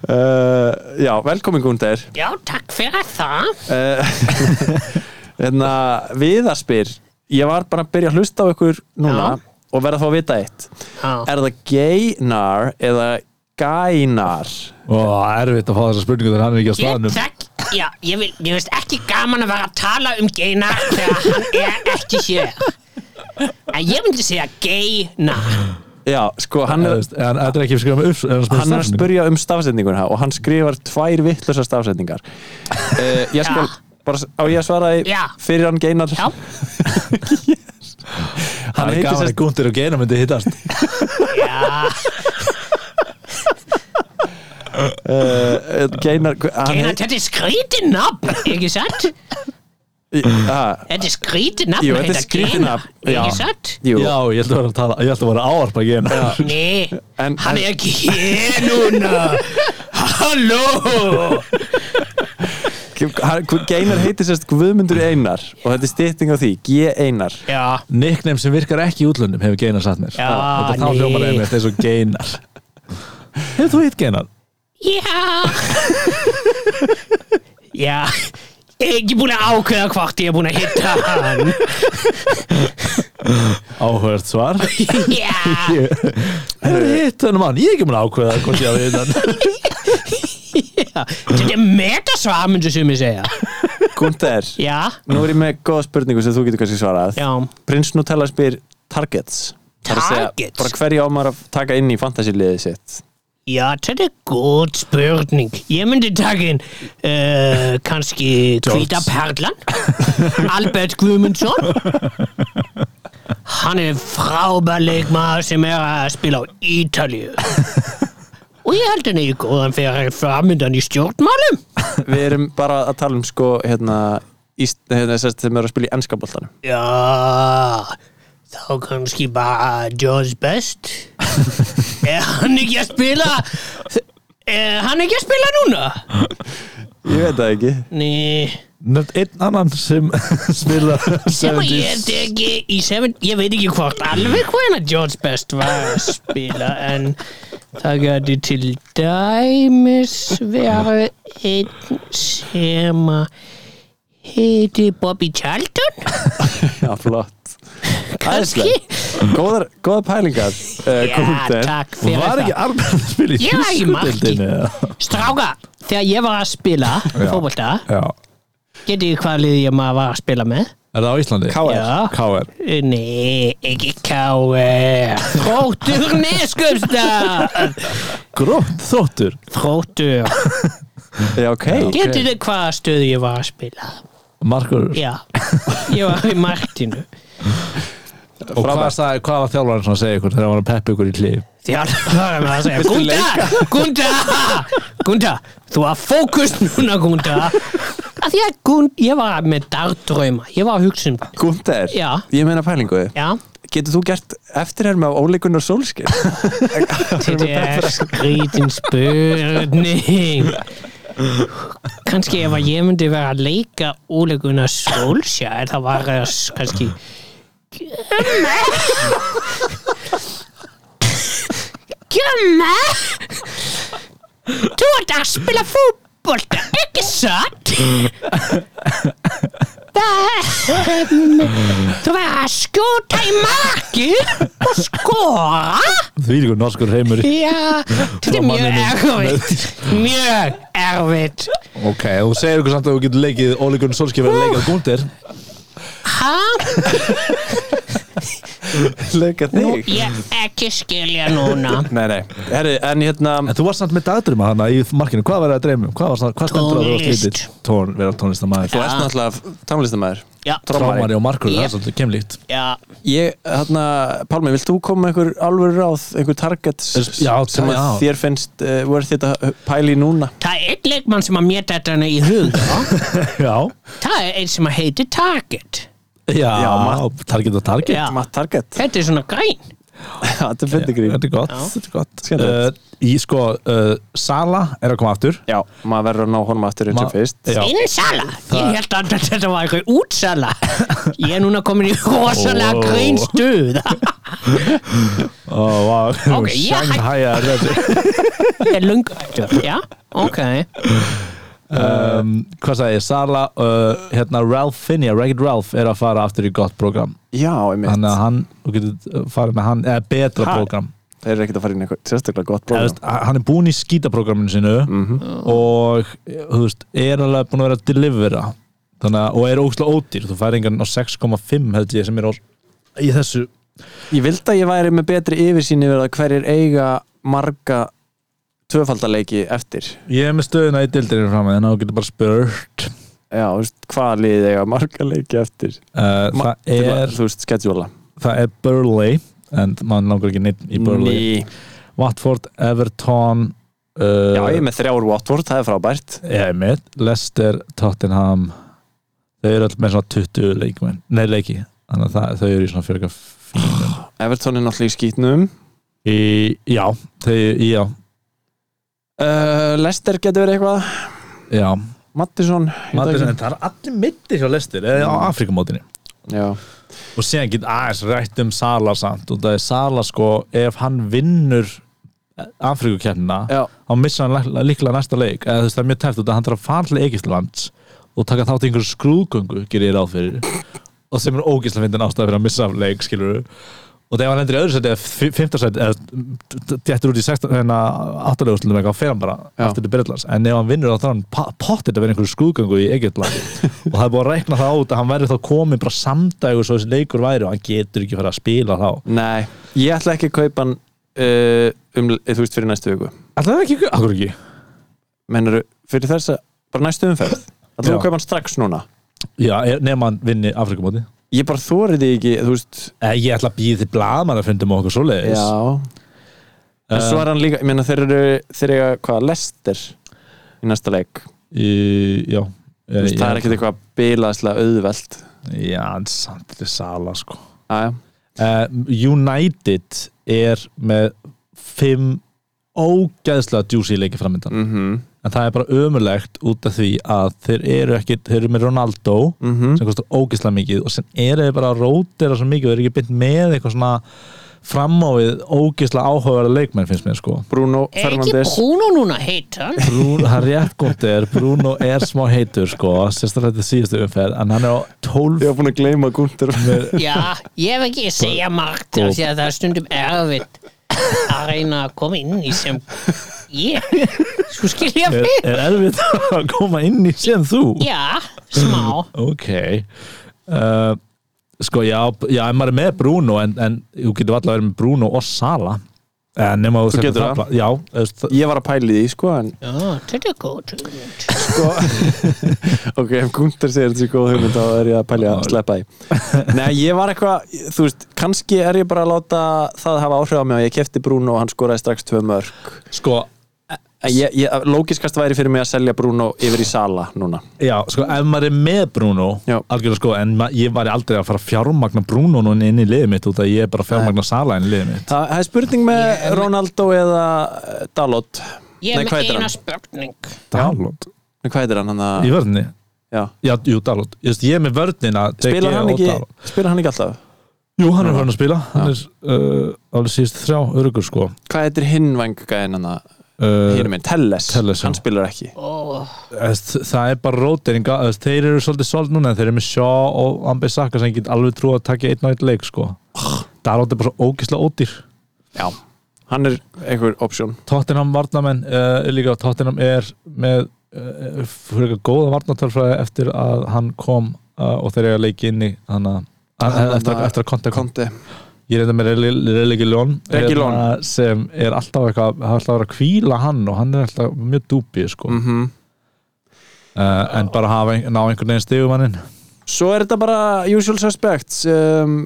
uh, Já, velkomin Gundar
Já, takk fyrir það.
uh, Hérna, Viðar spyr Ég var bara að byrja að hlusta á ykkur núna
Já.
og verða að fá að vita eitt
Já.
Er það geinar eða gænar?
og erfitt að fá þessa spurningu þegar hann er ekki á
Ég,
staðnum
takk, já, ég vil, ég veist ekki gaman að vera að tala um geina þegar hann er ekki hér en ég myndi segja geina
Já, sko, hann
Þú
er,
veist, en þetta er ekki skrifa með upp en
hann er að
spurning.
spyrja um stafsetninguna og hann skrifar tvær vittlösa stafsetningar uh, Ég skal
Já.
bara, á ég að svara því
Já.
fyrir hann geinar
já,
hann er
heitir
gaman
sem-
að Gunther og Geina myndi hittast
já,
uh, Geinar hann
geina,
heit-
þetta er skrítið nafn ekki satt?
í- ah,
Þetta er skrítið nafn
Jú,
að
þetta er
heita
skrítið
Geina,
nafn, já.
ekki satt?
Jú,
já, ég ætla að vera að tala ég ætla að vera að áarpa Geina
Nei,
En-
hann
en-
er ekki hér núna halló
hann- Geinar heitir sérst Guðmundur Einar og þetta er stytting á því, G Einar
já,
nickname sem virkar ekki í útlöndum hefur Geina satt mér
Já,
og þá
nei.
hljómar einmitt eins og Geinar hefur þú hitt Geinar?
Já Já Ekki búin að ákveða hvort ég er búin að hitta hann
áhört svar
Já
hefur hitt þennan mann, ég er ekki mun að ákveða hvort ég hafi hitt hann
Þetta er metasvar myndu sem ég segja
Gunther,
Já,
nú er ég með góða spurningu sem þú getur kannski svarað
já
Prins Nutella spyr targets Það er að Segja,
Targets?
bara hverju á maður að taka inn í fantasiliðið sitt
Já, þetta er góð spurning Ég myndi taka inn uh, kannski Tvíta Perlan Albert Guðmundsson Hann er frábær leikmaður sem er að spila á Ítalíu Og ég held henni í góðan fyrir framöndan í stjórnmálum
Við erum bara að tala um sko hérna, íst, hérna sérst, þeim eru að spila í ennska boltanum
Já, þá kannski bara George Best Er hann ekki að spila Er hann ekki að spila núna?
Ég veit það ekki
Nei
nefnd einn annan sem spila
sem að ég veit ekki í 70, ég veit ekki hvort alveg hvena George Best var að spila en það gæti til dæmis verið einn sem að heiti Bobby Charlton
Já, Ah, flott
kannski
Góðar, góðar pælingar uh,
eh,
Já, takk fyrir
var ekki
það
Arnar að spila í
Ég var ekki
þýskudeldinni, eða?
Stráka, þegar ég var að spila fótbolta,
já,
getið þið hvað liðið ég maður var að spila með?
er það á Íslandi?
Já.
K.R.
Nei, ekki K.R. Þróttur Neskjöfstad
Grótt þóttur
Þróttur
Já, ok
Getið þið hvaða stöðu ég var að spila?
Markur
Já, ég var í marktinu
Og hvað, sagði, hvað var þjálfarinn svona að segja ykkur þegar hann var að peppa ykkur í klíf?
Þjálfarinn var að segja Gunda, Gunda, Gunda Þú var fókus núna Gunda Af því að Gunda, ég var með dagdrauma Ég var að hugsa um
Gunther,
Já.
ég meina pælingu
Já,
Getur þú gert eftirhermi af óleikunar sólskir?
þetta er skrítin spurning Kannski ef að ég myndi vera að leika óleguna sólsja Það var eh, kannski Gumma Þú ert að spila fútbolta, ekki satt? Það- Þú verður að skjóta í markið og skora?
Því líkur norskur heimur
Já, þetta
Frá
er mjög
manninum.
erfitt Mjög erfitt
Ok, þú segir ykkur samt að þú getur leikið Óleikurinn Solskjær verið leikað gúndir
Hæ?
Leika þig
Ég ekki skilja núna
Nei, nei, herri, en hérna
En þú varst samt með dagdruma hana í markinu Hvað var það að dreyma? um? Hvað, var, hvað stendur að þú varst
Tónlist.
lítið? Tón, vera tónlistamæður
Þú ert náttúrulega tónlistamæður
Já,
Trómari og Markur, það
Ég-
er svolítið kemlíkt
já,
Ég, hérna, Pálmi, vilt þú koma með einhver alvöru ráð, einhver targets
Já,
sem að
já.
þér finnst uh, worth it að pæli núna?
það er einn leikmann sem að mér þetta hana í hug já.
Já,
Það er einn sem að heiti Target
já,
ma-
target og target
Já.
Matt Target,
Þetta er svona græn
þetta er fyndi grín
Þetta er gott,
Já.
þetta er gott
Skemmtilegt.
Uh, Í sko, uh, Sala er að koma aftur
Já, maður verður að ná honum aftur
Ma-
undir fyrst
Já.
Innsala, ég held að þetta var eitthvað útsala Ég er núna komin í rosalega
Ó.
græn stuð
Ó, vá,
Ok, ég hætti.
Shanghai að röðu
Ég er lungu hættur, já, ok
um, Hvað sagði ég, Sala uh, hérna Ralph Finney, Ragged Ralph er að fara aftur í gott program
Já, einmitt
Þannig að hann, þú getur uh, farið með hann eða betra
Ha?
program
Þeir eru ekkert að fara inn í eitthvað sérstaklega gott sko. Mhm.
Eða, þú
prófum
veist, Hann er búinn í skítaprógraminu sinu og þú veist, er alveg búinn að vera að delivera Þannig að, og er ógustlega ódýr, þú færi engan á 6,5 held ég sem er á, í þessu
Ég vildi að ég væri með betri yfirsýn yfir það hverjir eiga marga tvöfaldaleiki eftir
Ég er með stöðuna í dildinu fram að þannig að þú getur bara spurt
Já, þú veist, hvað lið eiga marga leiki eftir
uh,
Ma-
það,
til að,
er,
Þú veist, skedjúla
það er Burley en mann langar ekki neitt í Burley Watford, Everton uh,
Já, ég er með þrjár Watford, það er frábært
ég með Leicester, Tottenham þau eru alltaf með svona 20 leikmenn nei leiki, þannig að það, þau eru í svona 40
Everton er náttúrulega í skýtnum
í, já, þau, já,
uh, Lester getur verið eitthvað
já
Mattisson
Madison, það er allir mittir hjá Leicester eða á Afrikamótinu
Já,
og síðan get aðeins rætt um Sala samt og það er Sala sko ef hann vinnur Afrikukeppnina
já,
þá missa hann lak- líklega næsta leik eða þú veist það er mjög tæft út að hann þarf að fara til Egilslands og taka þátt í einhverju skrúðgöngu gerir ég ráð fyrir og sem er ógislega fyndin ástæða fyrir að missa af leik skilur og þegar hann endur í öðru seti eða fimmtarsæti eða dættur út í 16 hérna áttalegu eitthvað fer hann bara
Já.
aftur til Byrjlands en ef hann vinnur þá þarf hann pa- pottet að vera í einhverju skrúðgöngu í Egilsland og það er búið að reikna það út að hann verður þá komin bara samdægur svo þessi leikur væri og hann getur ekki fara að spila þá
nei Ég ætla ekki að kaupa hann uh, um, þú veist, fyrir næstu viku
Alltaf það ekki, akkur ekki
Mennaru, fyrir þess að, bara næstu umferð Það þú
Já.
að kaupa hann strax núna
Já, er- nema hann vinni Afrikamóti
Ég bara þóriði ekki, þú veist
Eh, Ég ætla að býði þið blaðmann að fundum okkur svoleiðis
Já En svo er hann líka, ég meina þeir eru þeir eiga hvað, Lester í næsta leik,
Í- Já Eh,
þú veist, það er ekkert eitthvað bilaðslega auðvelt
Já, en samt þetta er sala sko
Æja,
uh, United er með fimm ógæðslega djúsi leiki framöndan
mhm mm
en það er bara ömulegt út af því að þeir eru ekki, þeir eru með Ronaldo sem kostar ógæðslega mikið og sem eru þeir bara að rótera svo mikið og eru ekki bynd með eitthvað svona framávið ógæðslega áhugaverða leikmenn finnst mér sko
Bruno
Er ekki
Fernandes
Bruno núna heitan?
Bruno, hann rétt gott er, Bruno er smá heitur sko, sérstaklega þetta er síðustu umferð en hann er á 12
Ég var búin að gleyma Gunther
Já, ég hef ekki að segja margt af því að það er stundum erfitt að reyna að koma inn í sem ég Svo skilja
er,
mig
er erfitt að koma inn í sem þú
Já, smá
ok uh, sko já, já en maður er með Bruno en, en þú getur alltaf verið með Bruno og Sala en nema þú
getur það.
tafla- já, þú veist, það-
Ég var að pæli því, sko, en
Já, þetta er góð hugmynd.
sko Ok, ef Gunther segir þetta sé góð hugmynd þá er ég að pæli að sleppa því Nei, ég var eitthvað, þú veist, kannski er ég bara að láta það hafa áhrif á mig og ég kefti Bruno og hann skoraði strax tvö mörg
sko
En ég, ég, lógiskast væri fyrir mig að selja Bruno yfir í Sala núna
Já, sko, ef maður er með Bruno
Já.
algjörlega sko, en ma- ég var aldrei að fara að fjármagna Bruno núna inn í liðið mitt út af að ég er bara að fjármagna Sala inn í liðið mitt
Það það er spurning með Ronaldo eða eh, Dalot
Ég
Nei, hvað
hef með
heitir
eina
hann?
spurning
Dalot,
Nei, Hvað heitir hann hann að
í vörðinni
Já.
Já, jú, Dalot, ég, veist, ég er með vörnina De
Spilar
Gea
hann
og
ekki,
Dalot.
spilar hann ekki alltaf?
Jú, hann er farin að spila Hann er uh, alveg síðust þrjá örugur sko
Hvað heitir hinn vangagæðin hann að
uh,
hinum minn? Telles,
Telles, já.
hann spilar ekki
þess, Það er bara róteringa þess, Þeir eru svolítið sold núna en Þeir eru með Shaw og Ambisaka sem ég get alveg trú að taka einn og einn leik sko
Ah.
Dalot er bara svo ógislega ódýr
Já, hann er einhver option
Tottenham varnamenn uh, er líka Tottenham er með uh, fyrir eitthvað góða varnatölfræði eftir að hann kom uh, og þeir eru að leiki inni þannig að
Hann-
eh, eftir, að- eftir að konta kom
Konti
ég reynda með Relegilón
Reguilón.
hérna, sem er alltaf eitthvað það er alltaf að vera að kvíla hann og hann er alltaf mjög dúbið sko
mm
uh, en bara hafa ein, ná einhvern veginn stigum hann inn
Svo er þetta bara usual suspects um,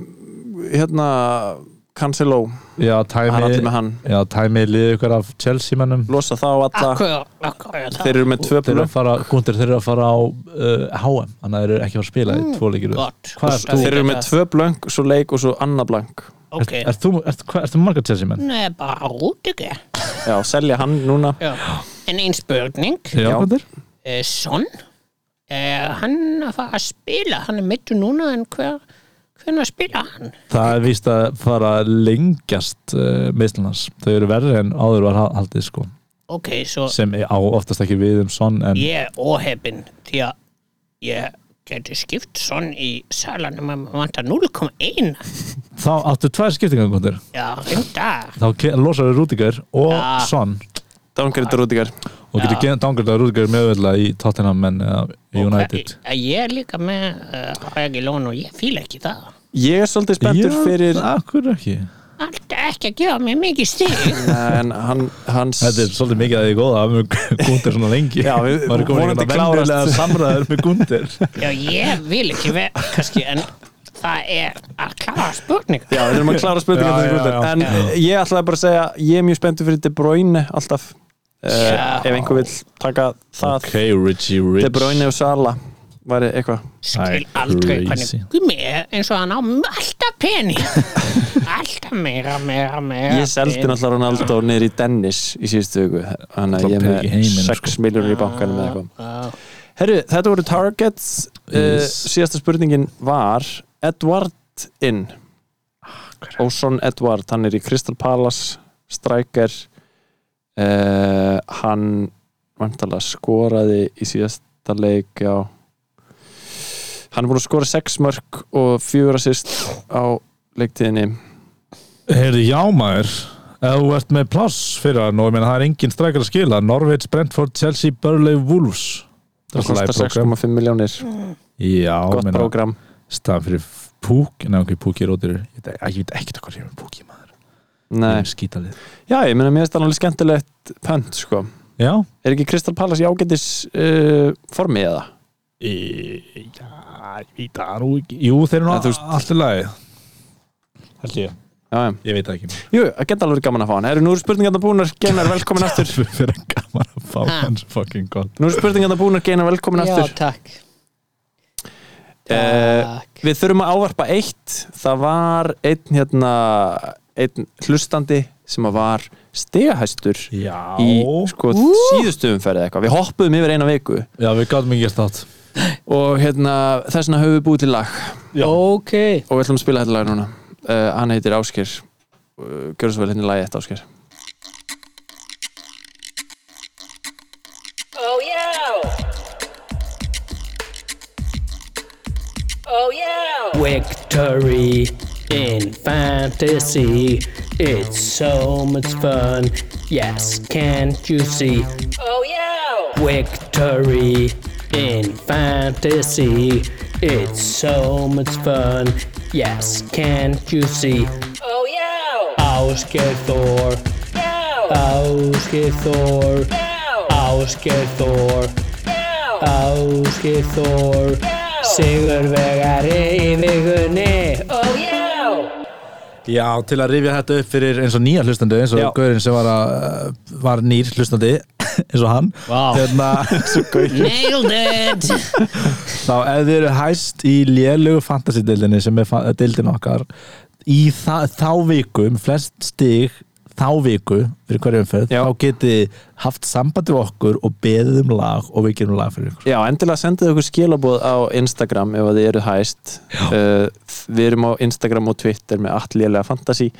hérna Cancelo,
já,
það er allir með
tæmi,
hann
já, tæmi liðið ykkur af Chelsea mennum
losa þá alla,
Akkur, akkur er það
þeir eru með tvö
þeir eru
blöf
að fara, Gunther, þeir eru að fara á uh, HM, þannig að þeir eru ekki að fara að spila í tvo leikir röð.
Gott.
hvað er þú?
Þeir eru með tvö blöng, svo leik og svo annað blöng
Ok,
Er þú, er, er, er þú margar Chelsea menn?
nú er bara rútige
Já, selja hann núna
En ein spurning
Já.
Gunther?
eh, Son eh, Hann að fara að spila Hann er mittu núna en hver hvernig spila hann
Það er víst að fara að lengjast uh, meðslunars. Þau eru verri en áður var ha- haldið sko.
ok, svo
Sem á oftast ekki við um sonn en
ég er óhefin því að ég geti skipt svon í salanum að maður vantar 0,1
þá áttu tvær skiptingangundir.
já, reynda
Þá ke- losar þau Rúdíkar og ja.
Ja.
sonn
Dángrindar út ykkar
og getur ja. dangrið að Rúdíkar mjög vel í Tottenham en uh, United.
Ég- ég er líka með uh, hægi lón og ég fíla ekki það
Ég er svolítið spenntur fyrir
Akkur ekki.
allt ekki að gefa mig mikið stig
en hann, hans
Þetta er svolítið mikið að því góða að við Gundir svona lengi.
Já, við-
Maður er komin í
vonandi
hérna
klárast.
venjulega samræður með Gundir.
já, ég vil ekki vera kannski, en það er að klára spurning
Já, við erum að klára spurningar
Já,
fyrir
já,
kvöldin
já.
En eh, ég ætlaði bara að segja, ég er mjög spenntur fyrir De Bruyne alltaf uh,
Já.
Ef einhver vill taka það
Ok, Richie Rich.
De Bruyne og Sala væri eitthvað
skil
Æ,
aldrei
crazy.
hvernig gummi er eins og hann á alltaf pening alltaf meira, meira, meira
Ég seldi
pening.
náttúrulega Ronaldo niður í Dennis í síðustu viku Þannig að ég er
Náttúrulega pening
með
í heiminum, sko.
6 miljónur í bankanum eða eitthvað
Já.
Herru, þetta voru targets uh,
Yes.
Síðasta spurningin var Edward inn
Ah,
Ósson Edward, hann er í Crystal Palace Striker uh, Hann vantalega skoraði í síðasta leik á Hann er búin að skora 6 mörg og 4 assist á leiktíðinni
Heyrðu, já maður ef þú ert með pláss fyrir hann og ég meina það er engin strækar að skila Norveits, Brentford, Chelsea, Burnley, Wolves
Það kostar
program
6,5 miljónir
Já,
Gott
meina
prógram
stað fyrir púk Nei, ok, púk er ódýrur Ég veit- ég veit ekkert hvað ég er með púk í maður Ég
Nei.
er skítalið
Já, ég meina mér finnst það alveg skemmtilegt pönt sko.
Já,
Er ekki Crystal Palace í ágætis uh, formi eða?
e, já ég veit það nú ekki Jú, þeir eru
En þú
nú
veist-
allt í lagi Held ég,
Já, já.
ég veit það ekki
Jú, það geta alveg verið gaman að fá hann Eru nú eru spurningarna búnar, Geinar velkomin aftur
Fyrir að gaman að fá hans fucking gott
Nú eru spurningarna búnar, Geinar velkomin
Já,
aftur
takk
Eh,
Takk
Við þurfum að ávarpa eitt Það var einn hérna einn hlustandi sem að var stegahæstur
Já
í sko, síðustu umferði eða eitthvað Við hoppuðum yfir eina viku
Já, við gátum ekki gert þátt
og hérna, þess vegna höfum við búið til lag
Ok
og við ætlum að spila þetta lag núna uh, hann heitir Ásker uh, gjörðu svo vel hérna henni lagi eftir Ásker
Oh yeah. Oh yeah.
Victory in fantasy It's so much fun Yes, can't you see
Oh yeah.
Victory in fantasy It's so much fun Yes, can't you see
Oh yeah.
Ásgeir Þór
Yeah.
Ásgeir Þór
Yeah.
Ásgeir Þór
Yeah.
Ásgeir Þór Sigur vegari í vikunni
Oh yeah.
Já, til að rifja þetta upp fyrir eins og nýja hlustandi eins og gaurinn sem var, að, eh, var nýr hlustandi eins og hann Hérna, wow.
nailed it
þá ef þið eru hæst í lélugu fantasy-deildinni sem er fa- deildin okkar í þa þá viku um flest stig þá viku fyrir hverju umferð
Já.
þá getið þið haft sambandi við okkur og beðið um lag og við gerum lag fyrir ykkur
Já, endilega sendið okkur skilaboð á Instagram ef að þið eru hæst uh, Við erum á Instagram og Twitter með allélega fantasy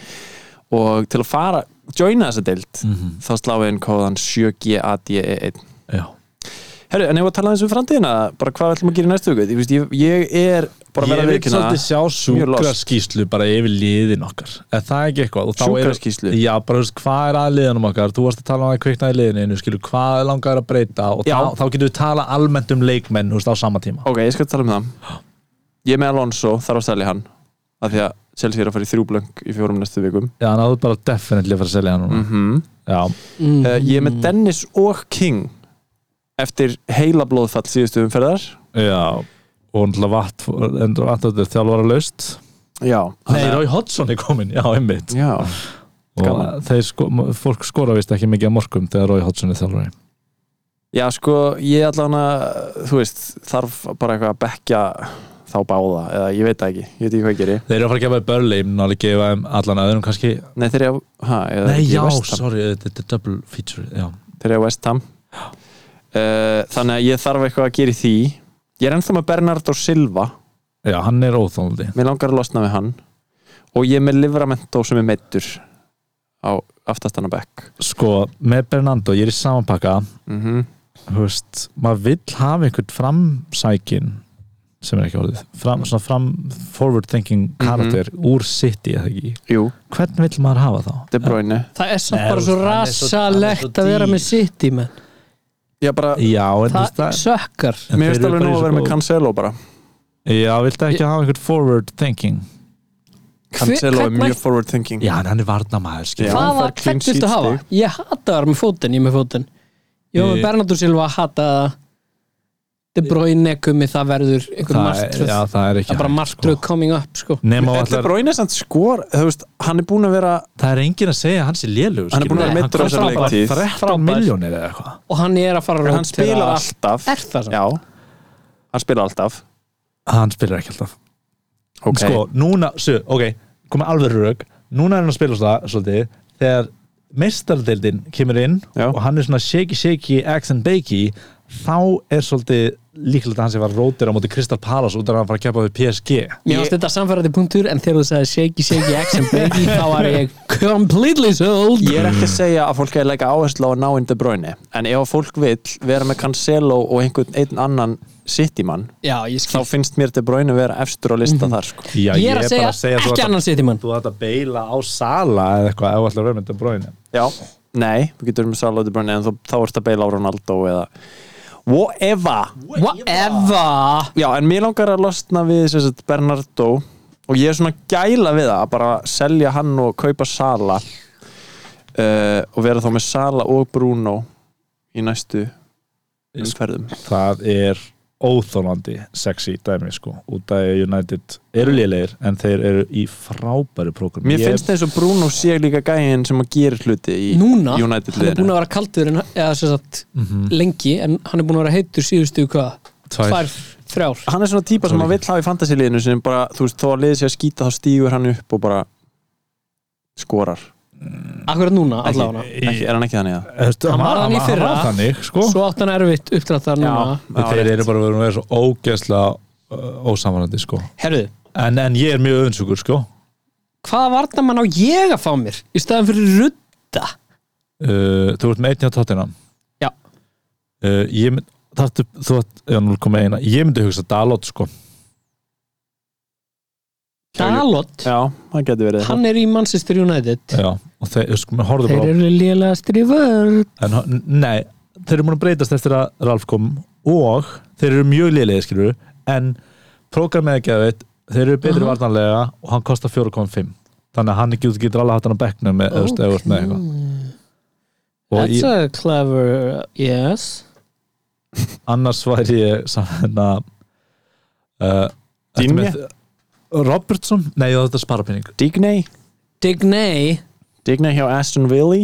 og til að fara, joina þessa deild
Mhm.
þá sláum við inn kóðan 7GADE1
Já,
E Herru, en ég var að tala aðeins um framtíðina bara hvað við ætlum að gera í næstu viku Ég veist, ég, ég er bara að vera
Ég
að
vil
viðkynna
svolítið sjá
mjög lost.
sjúkraskíslu bara yfir liðin okkar Er það ekki eitthvað? Og þá er-
Sjúkraskýrslu?
Já, bara þú veist, hvað er að liðanum okkar? Þú varst að tala um að kvikna í liðinu, skilur, hvað er langar að breyta og
Já.
þá, þá getum við tala almennt um leikmenn, þú veist, á sama tíma
Ok, ég skal tala um það Ég er með Alonso, þarf að selja hann af því að Chelsea er að fara í þrjú blöng í fjórum næstu vikum
Já, þannig að þú er bara definitely að fara að selja hann núna
Mm. Mhm.
Já,
Uh, ég er með Dennis og King eftir heila blóðfall síðustu umferðar
já og hann til að vatt, en vatt þetta er þjálfara laust
já,
Nei, Rói Hodgson er komin, já, einmitt
já, gaman.
Og þeir sko, fólk skora vist ekki mikið að morgum þegar Rói Hodgson er þjálfari
já sko ég allan að, þú veist þarf bara eitthvað að bekja þá báða, eða ég veit það ekki, ég veit ekki hvað ég geri
Þeir eru að fara að gefa í Börli, menn alveg gefa þeim allan öðrum kannski
nei þeir eru, hæ, eða
Nei,
ekki
já,
West Ham
sorry, eh, þetta er double feature Já,
þeir eru West Ham Eh, uh, þannig að ég þarf eitthvað að gera í því ég er ennþá með Bernardo Silva
já, hann er óþólandi
mér langar að losna við hann og ég er með livramentó sem er meittur á aftastana bekk
sko, með Bernando, ég er í samanpakka
mm
þú veist, maður vill hafa einhvern framsækin sem er ekki orðið, fram, svona fram forward thinking
Mhm.
karakter úr City eða ekki,
Jú,
hvern vill maður hafa þá?
De Bruyne
Það er samt
Nei,
bara svo
hann er svo- hann er
rasalegt
svo
að vera
dýr.
með sitt í menn
Já, bara,
Já, en þú veist
Það
það
sökkar
en
mér
þeir
finnst
eru
alveg
bara
nú
í
að
svo
vera með
góð-
Cancelo bara
Já, viltu ekki hafa einhvern forward thinking?
Cancelo er mjög forward thinking
Já, en hann er varnamæður, skil
Já, hann
Hvaða
fær clean
hvern viltu
sheet
hafa?
stig.
Ég hata það með fótinn, ég með fótinn Ég var
Ég-
með Bernardo Silva að hata það De Bruyne kumi það verður einhver
það,
martröð
já,
Það
það er ekki
er bara
hægt,
martröð coming up sko
En
Nema
De
allar,
Bruyne er samt skor þú veist, hann er búin að vera
það er enginn að segja að hann sé lélugur
Hann er búinn að vera meiddur á þessari leiktíð.
13 miljónir eða eitthvað
Og hann er að fara að
en hann
rótera
spilar
allt.
alltaf
Er það samt?
Já, hann spilar alltaf
Hann spilar ekki alltaf
Ok,
Sko, núna, svo, ok, komið alveg rauk Núna er hann að spila það, svolítið Þegar meistardeldin kemur inn
Já.
Og hann er svona shaky shaky, accent bakey Þá er svolítið líkilegt að hann sé var rótir á móti Kristal Palace út af að hann fara að keppa við PSG
Mér finnst þetta samfærandi punktur en þegar þú sagði shaky shaky action baby þá var ég completely sold
Ég er ekki að segja að fólk er að leika áherslu á að ná inn De Bruyne en ef að fólk vill vera með Cancelo og einhvern einn annan City-mann
Já, ég
þá
skil
finnst mér De Bruyne vera efstur á lista þar sko.
Já,
Ég er að segja,
bara þú
ekki
átt að-
annan sitt í mann
Þú ætti að beila á sala eða eitthvað ef þú ætlar að vera með þetta bróinu
Já, nei, við getum með Sala og De Bruyne en þá, þá ertu að beila á Ronaldo eða whatever
Whatever
Já, en mér langar að losna við sem sagt, Bernardo og ég er svona að gæla við það að bara selja hann og kaupa Sala uh, og vera þá með Sala og Bruno í næstu umferðum
Það er óþólandi sexy dæmi sko út af að United eru lélegir en þeir eru í frábæru prógram
Mér finnst eins og Bruno sé líka gæin sem að gera hluti í
Núna, hann er
United
búin
liðinu
að vera kaldur en, eða sem sagt
Mhm.
lengi en hann er búin að vera heitur síðustu hvað?
Tvær.
Tvær, þrjár
Hann er svona típa sem maður vill hafa í fantasiliðinu sem bara, þú veist, þó að liðið sé að skýta þá stígur hann upp og bara skorar
Akkurat núna, allavega
ekki, Er hann ekki þannig að?
Hefst,
Hann var þannig í fyrra.
hann var þannig, sko.
Svo átt hann erfitt uppdráttar núna
Þeir eru bara verið að vera svo ógeðslega uh, ósamanandi sko.
Herðu,
en, en ég er mjög öðunsugur sko.
hvaða varnamann á ég að fá mér í staðan fyrir rudda?
uh, Þú ert með einn hjá tóttina
Já,
uh, Ég mynd Þartu, þú ætt, já, 0,1 Ég myndi hugsa Dalot, sko
Dalot
Já, hann getur verið
Hann er í Manchester United
Já, og þeir, sko, maður horfðu
Þeir
bara á-
eru lélegastir í vörð
en, hann- Nei, þeir eru múin að breytast eftir að Ralf kom og þeir eru mjög liðlega, skilur en prógramið er geðveitt þeir eru betri varnarlega og hann kostar 4,5 þannig að hann ekki getur alveg hatt hann á bekknum með, okay. eða, þú veist, með eitthvað og
That's
ég,
a clever, yes
annars væri ég saman að uh, ertu
Digne?
með- Robertson? Nei, þetta er sparapinning
Digney
Digney,
Digney hjá Aston Villa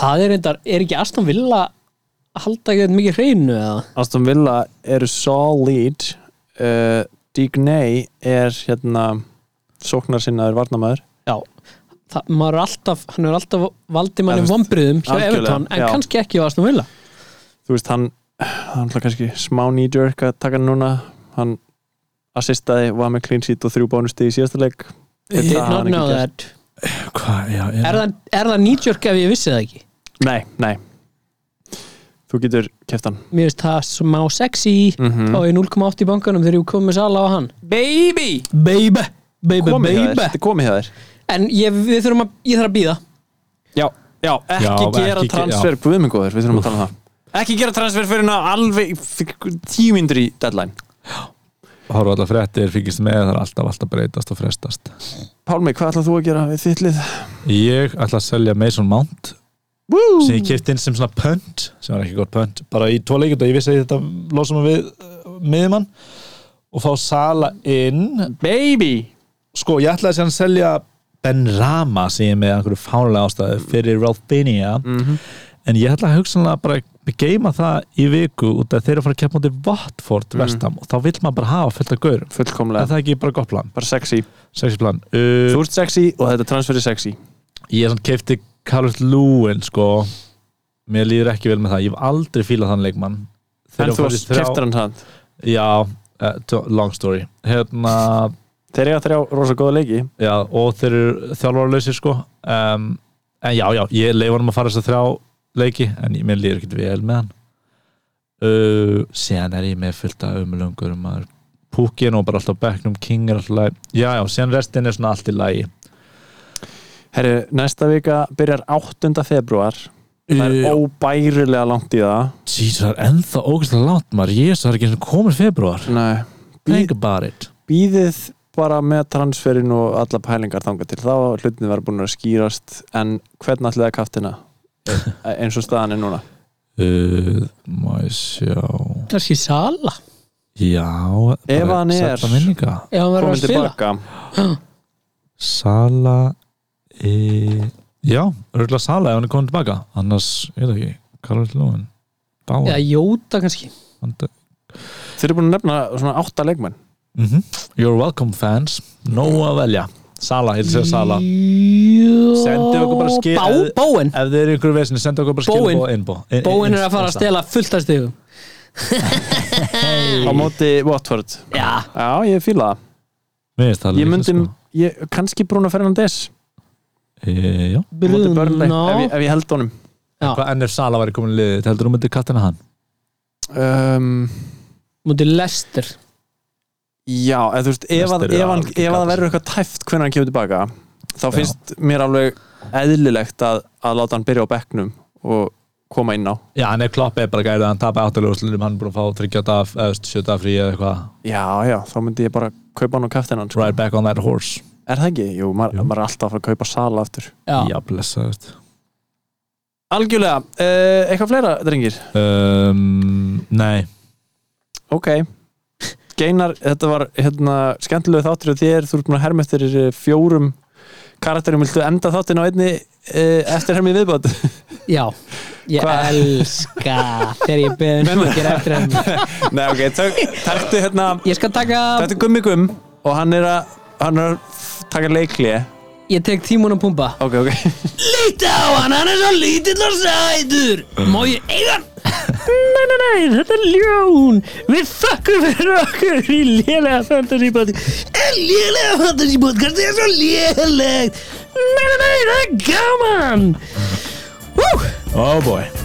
það er reyndar, er ekki Aston Villa að halda ekki þetta mikið hreinu eða?
Aston Villa eru solid uh, Digney er hérna sóknar sinnaður varnamæður
Já, það, maður er alltaf, hann er alltaf valdið
Já, þú
manni
veist,
vombriðum hjá
algjörlega,
Everton, en
já.
kannski ekki á Aston Villa
þú veist hann hann ætla kannski smá knee-jerk að taka hann núna hann assistaði, var með clean sheet og þrjú bónusti í síðasta leik Þetta
Did
hafði
not
hann ekki
know
gert.
that
Hvað, já, ég,
Er það, er það nýtjörk ef ég vissi það ekki?
Nei, nei Þú getur keft hann
Mér finnst það smá sexy
Mhm.
og ég 0,8 í bankanum þegar ég komið sala á hann
Baby!
Baby, baby,
Komið hjá þér,
baby
þetta er komið hjá þér
En ég, við þurfum að, ég þarf að býða
Já, já, ekki
Já, ekki
gera
ge-
transfer guðmengóður, við þurfum að tala um það Ekki gera transfer fyrir hann alveg tíu myndur í deadline
horfa allar fréttir, fylgist með það er alltaf, alltaf breytast og frestast
Pálmi, hvað ætlað þú að gera við þitt lið?
Ég ætla að selja Mason Mount
Woo!
sem ég kefti inn sem svona pönt sem var ekki gott pönt, bara í tvo leikjönda ég vissi að þetta losum við uh, miðjumann og fá Sala inn
Baby!
sko, ég ætlaði sér að selja Ben Rama sem ég er með einhverju fánulega ástæðu fyrir Ralph Binia en ég ætla að hugsanlega bara geima það í viku út af þeir eru að fara að keppa mútið Watford mm og þá vill maður bara hafa fullt af gaurum en
Fullkomlega,
það er ekki bara gott plan,
bara sexy
sexy plan uh,
Þú ert sexy og þetta transfer er sexy
ég er svona keifti Carlos Lewin sko mér líður ekki vel með það, ég hef aldrei fílað þann leikmann
En
Þeir
þú
eru að fara í
keftir hann hann
já, uh, to- long story hérna,
Þeir eiga þrjá rosa góða leiki
já, og þeir eru þjálfarlausir sko um, en já, já, ég leifa hann að fara þess að þrjá leiki en ég minn líður ekkert vel með hann uh, síðan er ég með fullt af umlöngur um að púkin og bara alltaf á bekknum, king er alltaf í lagi. já, já, síðan restin er svona allt í lagi
Herru, næsta vika byrjar 8. februar Það er óbærilega langt í það
Jesus, það er ennþá ógæslega langt maður Jesus, það er ekki eins og komur februar
Nei,
Think about it
býðið bara með transferin og alla pælingar þangað til þá hafa hlutin verður búin að skýrast en hvern allir það kaftina eins og staðan er núna
uh, Má ég sjá
Kanski Sala
Já
Ef
bara
hann er-
sella minninga.
Ef hann verður
komin
að spila
tilbaka
Sala e... Já, örgulega Sala ef hann er komin tilbaka Annars, ég veit ekki Karol Lóin Báin
Eða Jóta kannski
yeah.
Þeir eru búin að nefna svona átta leikmenn
Mhm. You're welcome fans Nóa að velja Sala, ég vil segja Sala Sendu
Sendu
okkur bara skil- Eh,
Bá, Bóen
Ef þið eru einhverju vesinni, senda okkur bara
Bóin.
skilbóð innbó
Bóen er að fara að stela fullt af stegum
á móti Watford
Já,
Já, ég fíla það
stela
Ég myndi, ég, kannski Bruno Fernandes
e, Já
á móti Burnley
Bruno.
ef, ég- ef ég held honum
Hvað enn ef Sala væri komin í liðið, heldur þú myndi kattina hann?
um,
múti Lester
Já, eða þú veist ef, að,
Næst eru
ef, hann,
algjör
ef að það
galsi.
verður eitthvað tæft hvernig hann kemur tilbaka þá finnst mér alveg eðlilegt að, að láta hann byrja á bekknum og koma inn á
Já, en ef Klopp er bara gærið að hann tapa áttaljóðslinum, hann er búin að fá 30 dag, eða 7 dag frí eða eitthvað
Já, já, þá myndi ég bara kaupa hann og kaftin hann sko.
Right back on that horse
Er það ekki? Jú, maður
Jú.
maður er alltaf að fara að kaupa sala aftur
Já,
Já, blessa, veist
Algjörlega, uh, eitthvað fleira, drengir?
um, Nei,
Ok Geinar, þetta var hérna, skemmtilegu þáttur af þér, þú ert búin að herma eftir eh, fjórum karakterum, viltu enda þáttin á einni uh, eftir hermið viðbót?
já Ég
Hvað?
elska þegar ég beðin um að gera eftir henni
Nei, ok, tök, taktu hérna
Ég skal taka,
Þetta er Gummi Gumm og hann er að hann er að taka leiklið
ég tek tímun og pumpa
Ok, ok
Lítið á hann, hann er svo lítill og sætur Má ég eiga hann? Nei, nei, nei, þetta er ljón Við þakkum fyrir okkur í lélega fantasy podcast En lélega fantasy podcast er svo lélegt Nei, nei, nei, það er gaman Woo!
oh boy